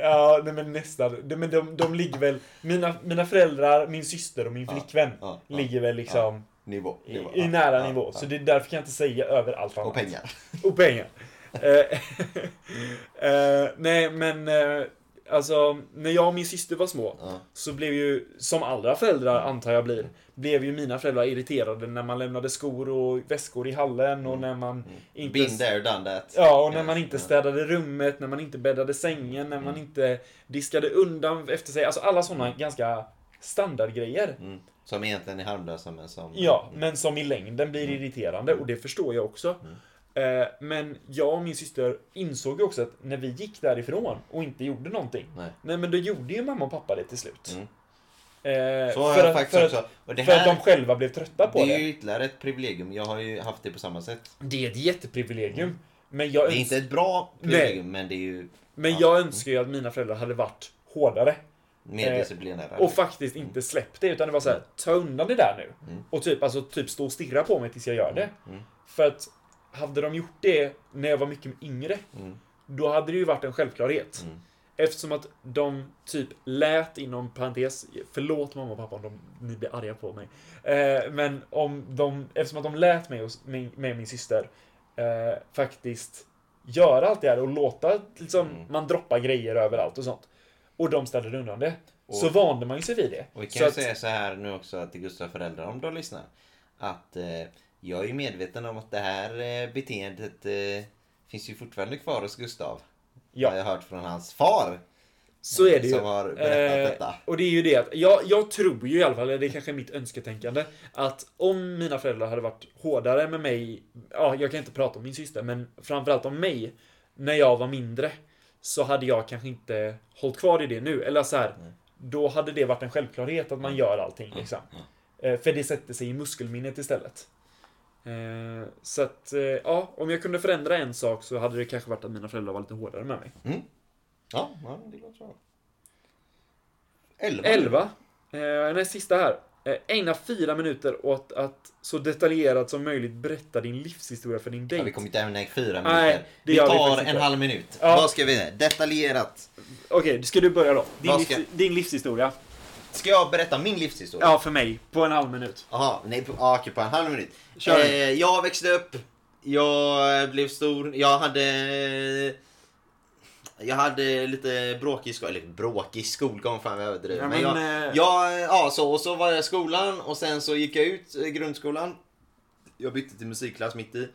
S1: Ja, nej, men nästan. De, men de, de ligger väl... Mina, mina föräldrar, min syster och min
S2: Ja,
S1: flickvän
S2: ja, ja,
S1: ligger väl liksom
S2: Nivå. nivå.
S1: i, i
S2: Ja,
S1: nära
S2: ja,
S1: nivå.
S2: ja.
S1: Så det är därför kan jag inte säga över allt annat.
S2: Och pengar.
S1: Och pengar. Eh, eh, nej, men eh, alltså när jag och min syster var små
S2: Ja.
S1: så blev ju, som alla föräldrar antar jag blir, blev ju mina föräldrar irriterade när man lämnade skor och väskor i hallen och när man inte...
S2: Been there, done that.
S1: Ja, och när man inte
S2: Ja.
S1: städade rummet, när man inte bäddade sängen, när man inte diskade undan efter sig. Alltså alla sådana ganska standardgrejer.
S2: Mm. Som Mm. egentligen är harmlösa men som...
S1: Mm.
S2: Mm.
S1: Ja, men som i längden blir irriterande och det förstår jag också. Eh, Men jag och min syster insåg ju också att när vi gick därifrån och inte gjorde någonting.
S2: Nej.
S1: Nej men då gjorde ju mamma och pappa det till slut.
S2: Mm.
S1: Eh,
S2: Så har
S1: för
S2: jag
S1: att,
S2: faktiskt
S1: för
S2: också.
S1: Att,
S2: Och det
S1: för att
S2: här,
S1: de själva blev trötta på
S2: det
S1: det.
S2: är ju ytterligare ett privilegium. Jag har ju haft det på samma sätt.
S1: Det är ett jätteprivilegium. Men jag,
S2: Mm. Det är
S1: öns-
S2: inte ett bra privilegium, men det är ju
S1: men
S2: Ja. Mm.
S1: jag önskar ju att mina föräldrar hade varit hårdare.
S2: mer
S1: Eh,
S2: disciplinära.
S1: Och faktiskt inte släppt det utan det var så här, ta undan det där nu.
S2: Mm.
S1: Och typ, alltså, typ stå och stirra på mig tills jag gör det.
S2: Mm.
S1: För att hade de gjort det när jag var mycket yngre,
S2: Mm.
S1: då hade det ju varit en självklarhet.
S2: Mm.
S1: Eftersom att de typ lät inom parentes, förlåt mamma och pappa om de, ni blir arga på mig. Eh, men om de, eftersom att de lät mig och min, med min syster eh, faktiskt göra allt det här och låta liksom,
S2: Mm.
S1: man droppa grejer överallt och sånt. Och de ställde undan det.
S2: Och-
S1: så vande man ju sig vid det.
S2: Och vi kan
S1: så
S2: ju
S1: att,
S2: säga så här nu också att till Gustavs föräldrar om de lyssnar. Att eh, jag är ju medveten om att det här eh, beteendet eh, finns ju fortfarande kvar hos Gustav.
S1: Ja.
S2: Har jag hört från hans far.
S1: så är det ju.
S2: Som har berättat
S1: Eh,
S2: detta.
S1: Och det är ju det att, jag, jag tror ju i alla fall, eller det är kanske är mitt önsketänkande, att om mina föräldrar hade varit hårdare med mig, ja, jag kan inte prata om min syster, men framförallt om mig, när jag var mindre, så hade jag kanske inte hållit kvar i det nu. Eller så här, då hade det varit en självklarhet att man gör allting liksom. Eh, För det sätter sig i muskelminnet istället. Eh, Så att, eh, ja, om jag kunde förändra en sak så hade det kanske varit att mina föräldrar var lite hårdare med mig.
S2: Ja, ja det låter bra. Elva.
S1: 11. Eh, nej, sista här. Eh, ägna fyra minuter åt att så detaljerat som möjligt berätta din livshistoria för din
S2: Ja, vi
S1: dejt.
S2: kommer inte ämna i fyra
S1: Nej,
S2: minuter.
S1: det
S2: vi
S1: gör vi
S2: tar
S1: faktiskt
S2: en
S1: inte.
S2: halv minut.
S1: Ja.
S2: Vad ska vi säga? Detaljerat.
S1: Okej, ska du börja då? Din,
S2: Vad ska-
S1: livs, din livshistoria.
S2: Ska jag berätta min livshistoria?
S1: Ja, för mig. På en halv minut.
S2: Jaha, nej, på, ah, okej, på en halv minut.
S1: Kör.
S2: Eh, jag växte upp, jag blev stor, jag hade... Jag hade lite bråkig skolgång, eller bråkig skolgång, fan vad jag överdriver.
S1: Ja,
S2: men
S1: men,
S2: jag,
S1: eh,
S2: jag, ja, så, och så var jag i skolan och sen så gick jag ut eh, grundskolan. Jag bytte till musikklass mitt i.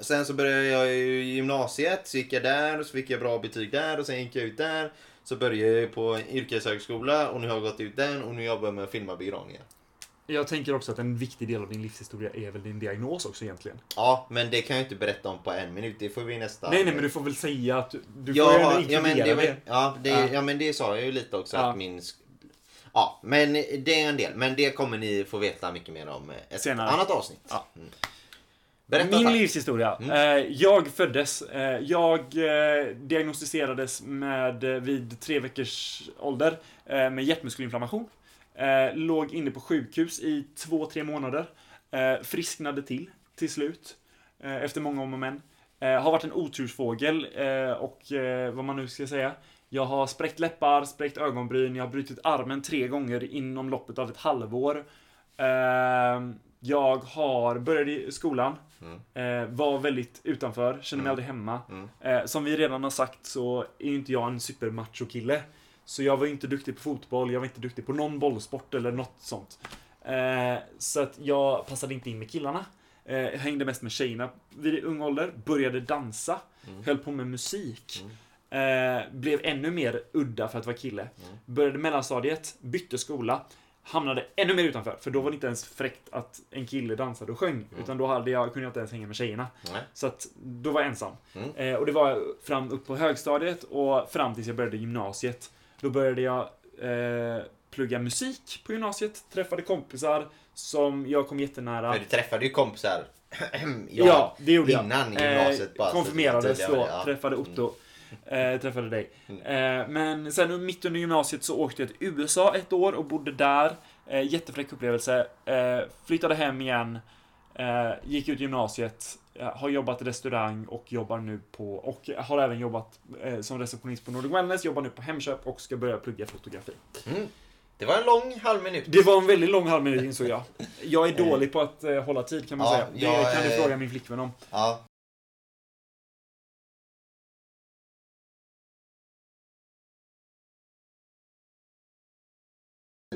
S2: Sen så började jag i gymnasiet, så gick jag där och så fick jag bra betyg där och sen gick jag ut där. Så började jag på en yrkeshögskola och nu har jag gått ut den och nu jobbar jag med att filma begravningar.
S1: Jag tänker också att en viktig del av din livshistoria är väl din diagnos också egentligen.
S2: Ja, men det kan jag inte berätta om på en minut. Det får vi i nästa.
S1: Nej, nej, men du får väl säga att du, du får ju
S2: ja,
S1: ändå
S2: ja, men det,
S1: inkludera
S2: var-
S1: det.
S2: ja, det,
S1: Ja.
S2: ja. men det sa jag ju lite också
S1: Ja.
S2: att min... sk- Ja, men det är en del. Men det kommer ni få veta mycket mer om eh, ett
S1: Senare.
S2: annat avsnitt.
S1: Ja.
S2: Mm. Berätta
S1: Min
S2: tack. Mm.
S1: livshistoria. Eh, jag föddes. Eh, jag eh, diagnostiserades med, eh, vid tre veckors ålder eh, med hjärtmuskelinflammation. Eh, låg inne på sjukhus i två, tre månader. Eh, frisknade till, till slut. Eh, efter många om och men. Eh, har varit en otursfågel eh, och eh, vad man nu ska säga. Jag har spräckt läppar, spräckt ögonbryn, jag har brutit armen tre gånger inom loppet av ett halvår. Eh, jag har började i skolan, eh, var väldigt utanför, kände mig aldrig hemma. Eh, som vi redan har sagt så är ju inte jag en supermachokille. Så jag var ju inte duktig på fotboll, jag var inte duktig på någon bollsport eller något sånt. Eh, så att jag passade inte in med killarna. Eh, jag hängde mest med tjejerna vid ung ålder, började dansa, höll på med musik. Eh, blev ännu mer udda för att vara kille. Började mellanstadiet, bytte skola. Hamnade ännu mer utanför, för då var det inte ens fräckt att en kille dansade och sjöng. Utan då hade jag, kunde jag inte ens hänga med tjejerna.
S2: Nej.
S1: Så att då var jag ensam.
S2: Mm.
S1: Eh, och det var jag fram upp på högstadiet och fram tills jag började gymnasiet. Då började jag eh, plugga musik på gymnasiet, träffade kompisar som jag kom jättenära.
S2: För du träffade ju kompisar.
S1: Ja, det gjorde jag. Eh,
S2: Innan gymnasiet bara, så det
S1: konfirmerades
S2: tydliga
S1: då,
S2: var det, ja.
S1: träffade Otto.
S2: Mm.
S1: Eh, träffade dig. Eh, men sen mitt under gymnasiet så åkte jag till USA ett år och bodde där. Eh, jättefräck upplevelse. Eh, flyttade hem igen. Eh, gick ut gymnasiet. Eh, har jobbat i restaurang och jobbar nu på, och har även jobbat eh, som receptionist på Nordic Wellness. Jobbar nu på Hemköp och ska börja plugga fotografi.
S2: Det var en lång halv minut.
S1: Det var en väldigt lång halv minut insåg jag. Jag är dålig på att eh, hålla tid kan man
S2: Ja,
S1: säga. Det
S2: jag eh,
S1: kan du
S2: är-
S1: fråga min flickvän om.
S2: Ja.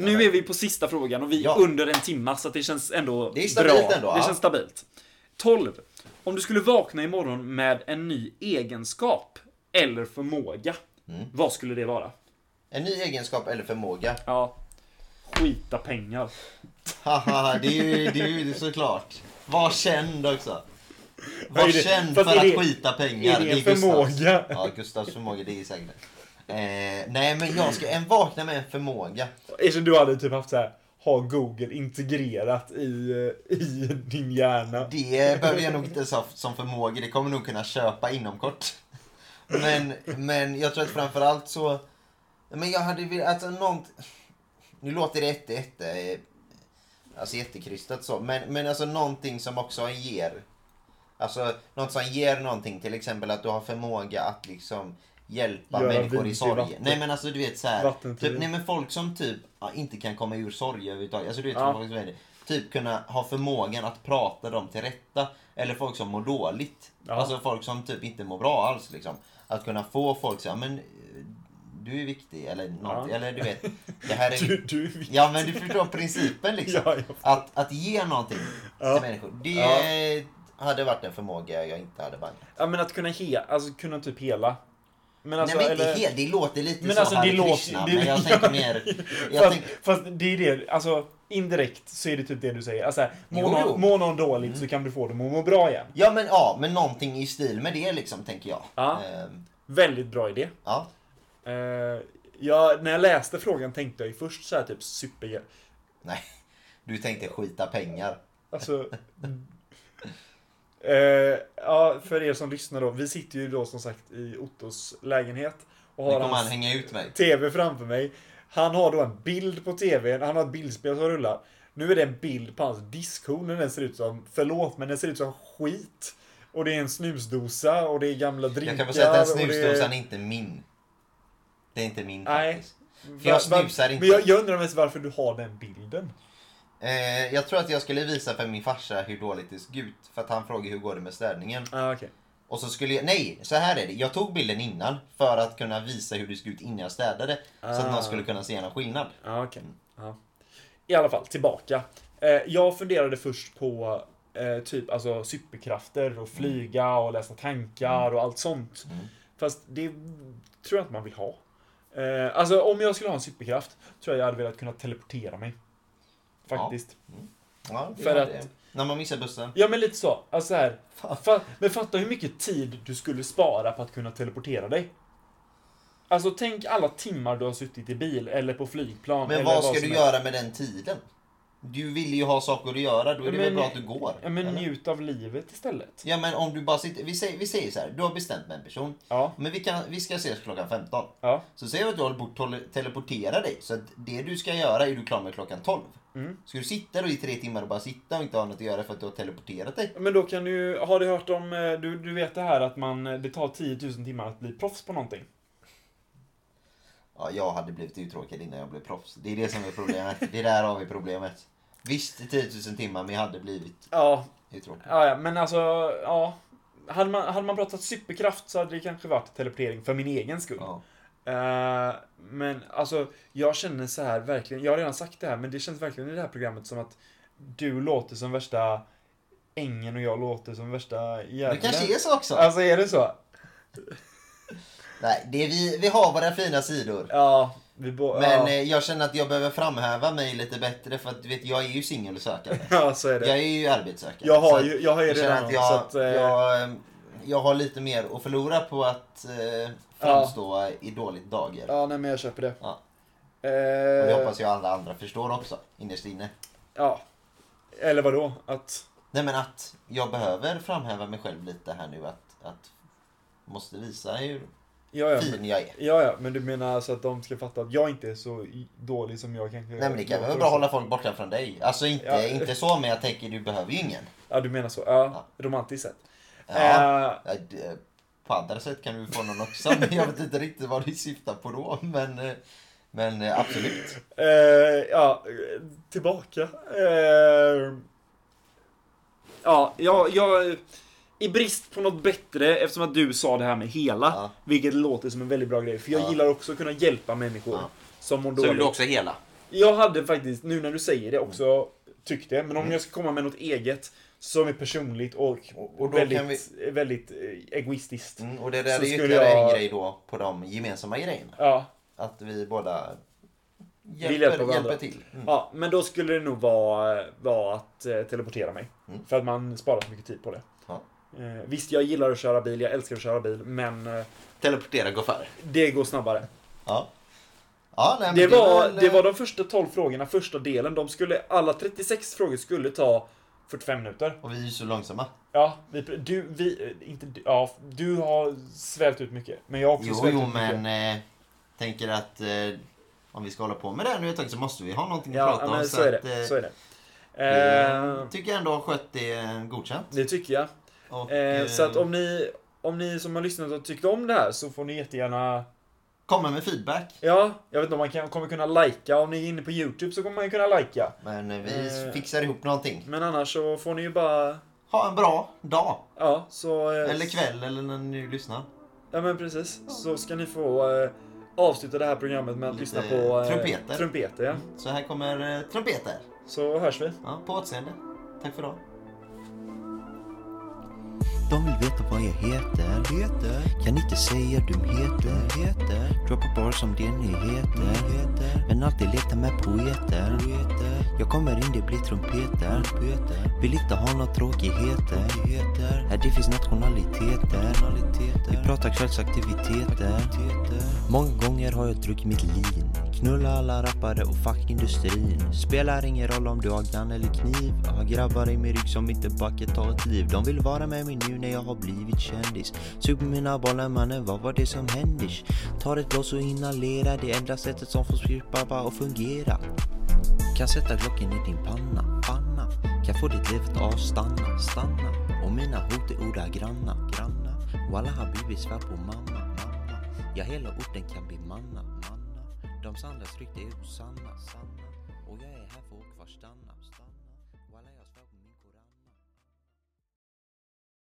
S1: Nu är vi på sista frågan och vi är
S2: Ja.
S1: under en timma så att det känns ändå
S2: Det är stabilt
S1: bra.
S2: ändå,
S1: det
S2: ja.
S1: känns stabilt. 12. Om du skulle vakna imorgon med en ny egenskap eller förmåga,
S2: Mm.
S1: vad skulle det vara?
S2: En ny egenskap eller förmåga.
S1: Ja, skita pengar.
S2: Haha, det är ju det är ju såklart. Var känd också.
S1: Vad
S2: Var
S1: är det?
S2: känd
S1: Fast
S2: för
S1: är
S2: att
S1: det-
S2: skita
S1: är
S2: pengar.
S1: det en
S2: Gustavs.
S1: förmåga?
S2: Ja, Gustavs förmåga, det är säkert det. Eh, nej, men jag ska en vakna med en förmåga.
S1: Eftersom du hade typ haft så här ha Google integrerat i, eh, i din hjärna.
S2: Det behöver jag nog inte ens ha som förmåga. Det kommer nog kunna köpa inom kort. Men, men jag tror att framförallt så... Men jag hade velat... Alltså någon, nu låter det jätte, jätte, eh, alltså jättekrystat så. Men, men alltså någonting som också ger. Alltså något som ger någonting. Till exempel att du har förmåga att liksom hjälpa
S1: Göra
S2: människor
S1: vin
S2: i
S1: till
S2: sorg.
S1: vatten.
S2: Nej men alltså du vet så här.
S1: Vattentid.
S2: Typ, nej men folk som typ ja, inte kan komma ur sorg överhuvudtaget. Alltså du vet
S1: Ja.
S2: folk som är det. Typ kunna ha förmågan att prata dem till rätta. Eller folk som mår dåligt.
S1: Ja.
S2: Alltså folk som typ inte mår bra alls liksom. Att kunna få folk säga men eh, du är viktig eller något,
S1: Ja.
S2: eller du vet. Det här är
S1: Du, du är
S2: Ja men du förstår principen liksom.
S1: Ja, jag-
S2: Att, att ge någonting
S1: Ja.
S2: till människor. Det hade varit en förmåga jag inte hade bangat.
S1: Ja men att kunna he, alltså kunna typ hela. Men alltså,
S2: Nej men inte
S1: eller-
S2: helt, det låter lite
S1: Men
S2: så
S1: alltså, det
S2: Hare
S1: låter-
S2: Krishna,
S1: det-
S2: men jag tänker mer... Jag
S1: Fast,
S2: tänk,
S1: fast det är det, alltså indirekt så är det typ det du säger. Alltså, här, mår,
S2: Jo, jo. Mm.
S1: någon, mår någon dåligt så kan du få dem att må bra igen.
S2: ja men ja, men någonting i stil med det liksom, tänker jag.
S1: Ja.
S2: Ehm,
S1: Väldigt bra idé.
S2: ja.
S1: Eh, jag, när jag läste frågan tänkte jag ju först så här typ superhjälte.
S2: Nej, du tänkte skita pengar.
S1: Alltså... eh, ja, för er som lyssnar då. Vi sitter ju då som sagt i Ottos lägenhet. Och
S2: Nu
S1: har
S2: kommer
S1: hans
S2: han hänga ut mig.
S1: TV framför mig. Han har då en bild på TVn. Han har ett bildspel som rullar. Nu är det en bild på hans diskhon. och Den ser ut som, förlåt, men den ser ut som skit. Och det är en snusdosa och det är gamla drinkar.
S2: Jag kan bara säga att den
S1: och det är-
S2: snusdosan är inte min. Det är inte min
S1: Nej.
S2: faktiskt. För jag
S1: Va- va-
S2: snusar inte.
S1: Men jag, jag undrar mest varför du har den bilden.
S2: Eh, jag tror att jag skulle visa för min farsa hur dåligt det såg ut. För att han frågade hur går det med städningen.
S1: Ah, okej.
S2: Och så skulle jag, nej, så här är det. Jag tog bilden innan för att kunna visa hur det såg ut innan jag städade. Så att
S1: Ah.
S2: någon skulle kunna se någon skillnad.
S1: Ja, okej. Ja. I alla fall, tillbaka. Eh, jag funderade först på eh, typ alltså superkrafter och flyga och läsa tankar och allt sånt. Fast det tror jag inte man vill ha. Eh, alltså om jag skulle ha en superkraft tror jag jag hade velat kunna teleportera mig. Faktiskt.
S2: Ja, det
S1: För
S2: var
S1: att-
S2: det. När man missar bussen.
S1: Ja, men lite så. Alltså så här. Fa- men fatta hur mycket tid du skulle spara på att kunna teleportera dig. Alltså tänk alla timmar du har suttit i bil eller på flygplan.
S2: Men
S1: eller
S2: vad
S1: som
S2: ska du
S1: helst.
S2: göra med den tiden? Du vill ju ha saker att göra, då är det väl
S1: Men-
S2: bra att du går?
S1: Ja, men
S2: eller?
S1: njut av livet istället.
S2: ja, men om du bara sitter... Vi säger, vi säger så här, du har bestämt med en person.
S1: Ja,
S2: Men vi, kan, vi ska ses klockan 15.
S1: ja,
S2: Så säger vi att du håller på att tole- teleportera dig. Så att det du ska göra är du klar med klockan 12.
S1: Mm.
S2: Ska du sitta då i tre timmar och bara sitta och inte ha något att göra för att du har teleporterat dig?
S1: men då kan du ju- har du hört om, eh, du, du vet det här att man, eh, det tar 10 000 timmar att bli proffs på någonting.
S2: Ja, jag hade blivit uttråkad innan jag blev proffs. Det är det som är problemet. Det är där har vi problemet. Visst, 10 000 timmar, men jag hade blivit
S1: Ja,
S2: uttråkad.
S1: ja, ja, men alltså, ja. Hade man, hade man pratat superkraft så hade det kanske varit teleportering för min egen skull.
S2: Ja.
S1: Eh, men alltså, jag känner så här verkligen, jag har redan sagt det här, men det känns verkligen i det här programmet som att du låter som värsta ängen och jag låter som värsta
S2: Det
S1: djävulen.
S2: kanske är så också.
S1: Alltså är det så?
S2: Nej, det är vi, vi har våra fina sidor.
S1: Ja, vi båda...
S2: Men
S1: ja.
S2: eh, jag känner att jag behöver framhäva mig lite bättre för att du vet, jag är ju singelsökande.
S1: ja, så är det.
S2: Jag är ju arbetssökande.
S1: Jag
S2: så
S1: har
S2: att-
S1: ju, jag har ju
S2: Jag känner
S1: redan
S2: att
S1: någon,
S2: jag,
S1: så att, eh,
S2: jag, eh, jag har lite mer att förlora på att eh, framstå i dåligt dager.
S1: Ja, nej men jag köper det.
S2: Ja. Och det
S1: Eh,
S2: hoppas jag alla andra förstår också, innerst inne.
S1: Ja. Eller vadå? Att...
S2: Nej men att jag behöver framhäva mig själv lite här nu att, att måste visa hur
S1: Ja, ja. men-
S2: fin jag är.
S1: Ja, ja, men du menar alltså att de ska fatta att jag inte är så i- dålig som jag kanske
S2: Nej men det kan väl vara bra att hålla folk borta från dig. Alltså inte,
S1: Ja.
S2: inte så men jag tänker du behöver ju ingen.
S1: Ja, du menar så. Ja, romantiskt sett.
S2: Ja.
S1: Eh,
S2: Ja, det- På andra sätt kan du få någon också men jag vet inte riktigt vad du syftar på då. Men, eh, men eh, absolut.
S1: Eh, ja, eh, tillbaka. Eh, ja, jag, jag... I brist på något bättre, eftersom att du sa det här med hela,
S2: Ja.
S1: vilket låter som en väldigt bra grej, för jag
S2: Ja.
S1: gillar också att kunna hjälpa människor
S2: Ja.
S1: som mår
S2: Så vill
S1: dåligt.
S2: du också hela?
S1: Jag hade faktiskt, nu när du säger det också,
S2: Mm.
S1: tyckt det, men om jag ska komma med något eget som är personligt och,
S2: och då kan
S1: väldigt, väldigt eh, egoistiskt.
S2: Mm, och det där
S1: Så
S2: är
S1: skulle
S2: ytterligare
S1: jag-
S2: en grej då på de gemensamma grejerna.
S1: Ja,
S2: Att vi båda
S1: vill
S2: hjälper,
S1: hjälpa varandra.
S2: hjälper till. Mm.
S1: Ja, men då eh, skulle det nog vara, vara att eh, teleportera mig. För att man sparar så mycket tid på det.
S2: Ja.
S1: Eh, Visst, jag gillar att köra bil, jag älskar att köra bil, men eh,
S2: Teleportera Goffar.
S1: det går snabbare.
S2: Ja. Ja, nej, men
S1: Det var,
S2: är väl,
S1: det var
S2: eh,
S1: de första 12 frågorna, första delen. De skulle, alla 36 frågor skulle ta 45 minuter.
S2: Och vi är ju så långsamma.
S1: Ja, vi, du, vi, eh, inte du, ja, du har svält ut mycket. Men jag har också
S2: Jo,
S1: svält
S2: jo,
S1: ut mycket.
S2: men eh, tänker att eh, om vi ska hålla på med det här nu ett tag så måste vi ha någonting att
S1: Ja,
S2: prata om.
S1: men så är
S2: att, eh,
S1: det. Så är det.
S2: vi, eh,
S1: Eh,
S2: tycker jag ändå har skött det eh, godkänt.
S1: det tycker jag.
S2: Och,
S1: Eh,
S2: eh,
S1: så att om ni, om ni som har lyssnat och tyckt om det här så får ni jättegärna
S2: Komma med feedback.
S1: Ja, jag vet inte om man kan, kommer kunna lajka. Om ni är inne på YouTube så kommer man ju kunna lajka.
S2: Men eh, vi
S1: Eh.
S2: fixar ihop någonting.
S1: Men annars så får ni ju bara...
S2: Ha en bra dag.
S1: Ja, så... eh,
S2: Eller kväll eller när ni lyssnar.
S1: Ja, men precis. Så ska ni få eh, avsluta det här programmet med att
S2: Lite
S1: lyssna på... eh,
S2: trumpeter.
S1: Trumpeter, ja.
S2: Så här kommer eh, trumpeter.
S1: Så hörs vi.
S2: Ja, på återseende. Tack för idag.
S4: De vill veta vad jag heter. Heter. Kan inte säga dumheter. Heter. Droppar bara som det nyheter. Heter. Men alltid leta med poeter. Poeter. Jag kommer in, det blir trumpeter. Trumpeter. Vill inte ha några tråkigheter. Tråkigheter. Här det finns nationaliteter. Nationaliteter. Vi pratar kvällsaktiviteter. Många gånger har jag druckit mitt lin. Knulla alla rappare och fuck industrin. Spelar ingen roll om du har grann eller kniv. Jag har grabbar i min rygg som inte backet tar ett liv. De vill vara med mig nu när jag har blivit kändis. Sug på mina bollar mannen, vad var det som hände? Tar ett blås och inhalerar. Det enda sättet som får skripa och fungera. Kan sätta glocken i din panna, panna. Kan få ditt liv att avstanna, stanna. Och mina hot är ordagranna, granna. Walla habibi svär på mamma, mamma. Ja, hela orten kan bli manna, manna. De sannas rykte är osanna, sanna. Och jag är här för att kvarstanna, stanna.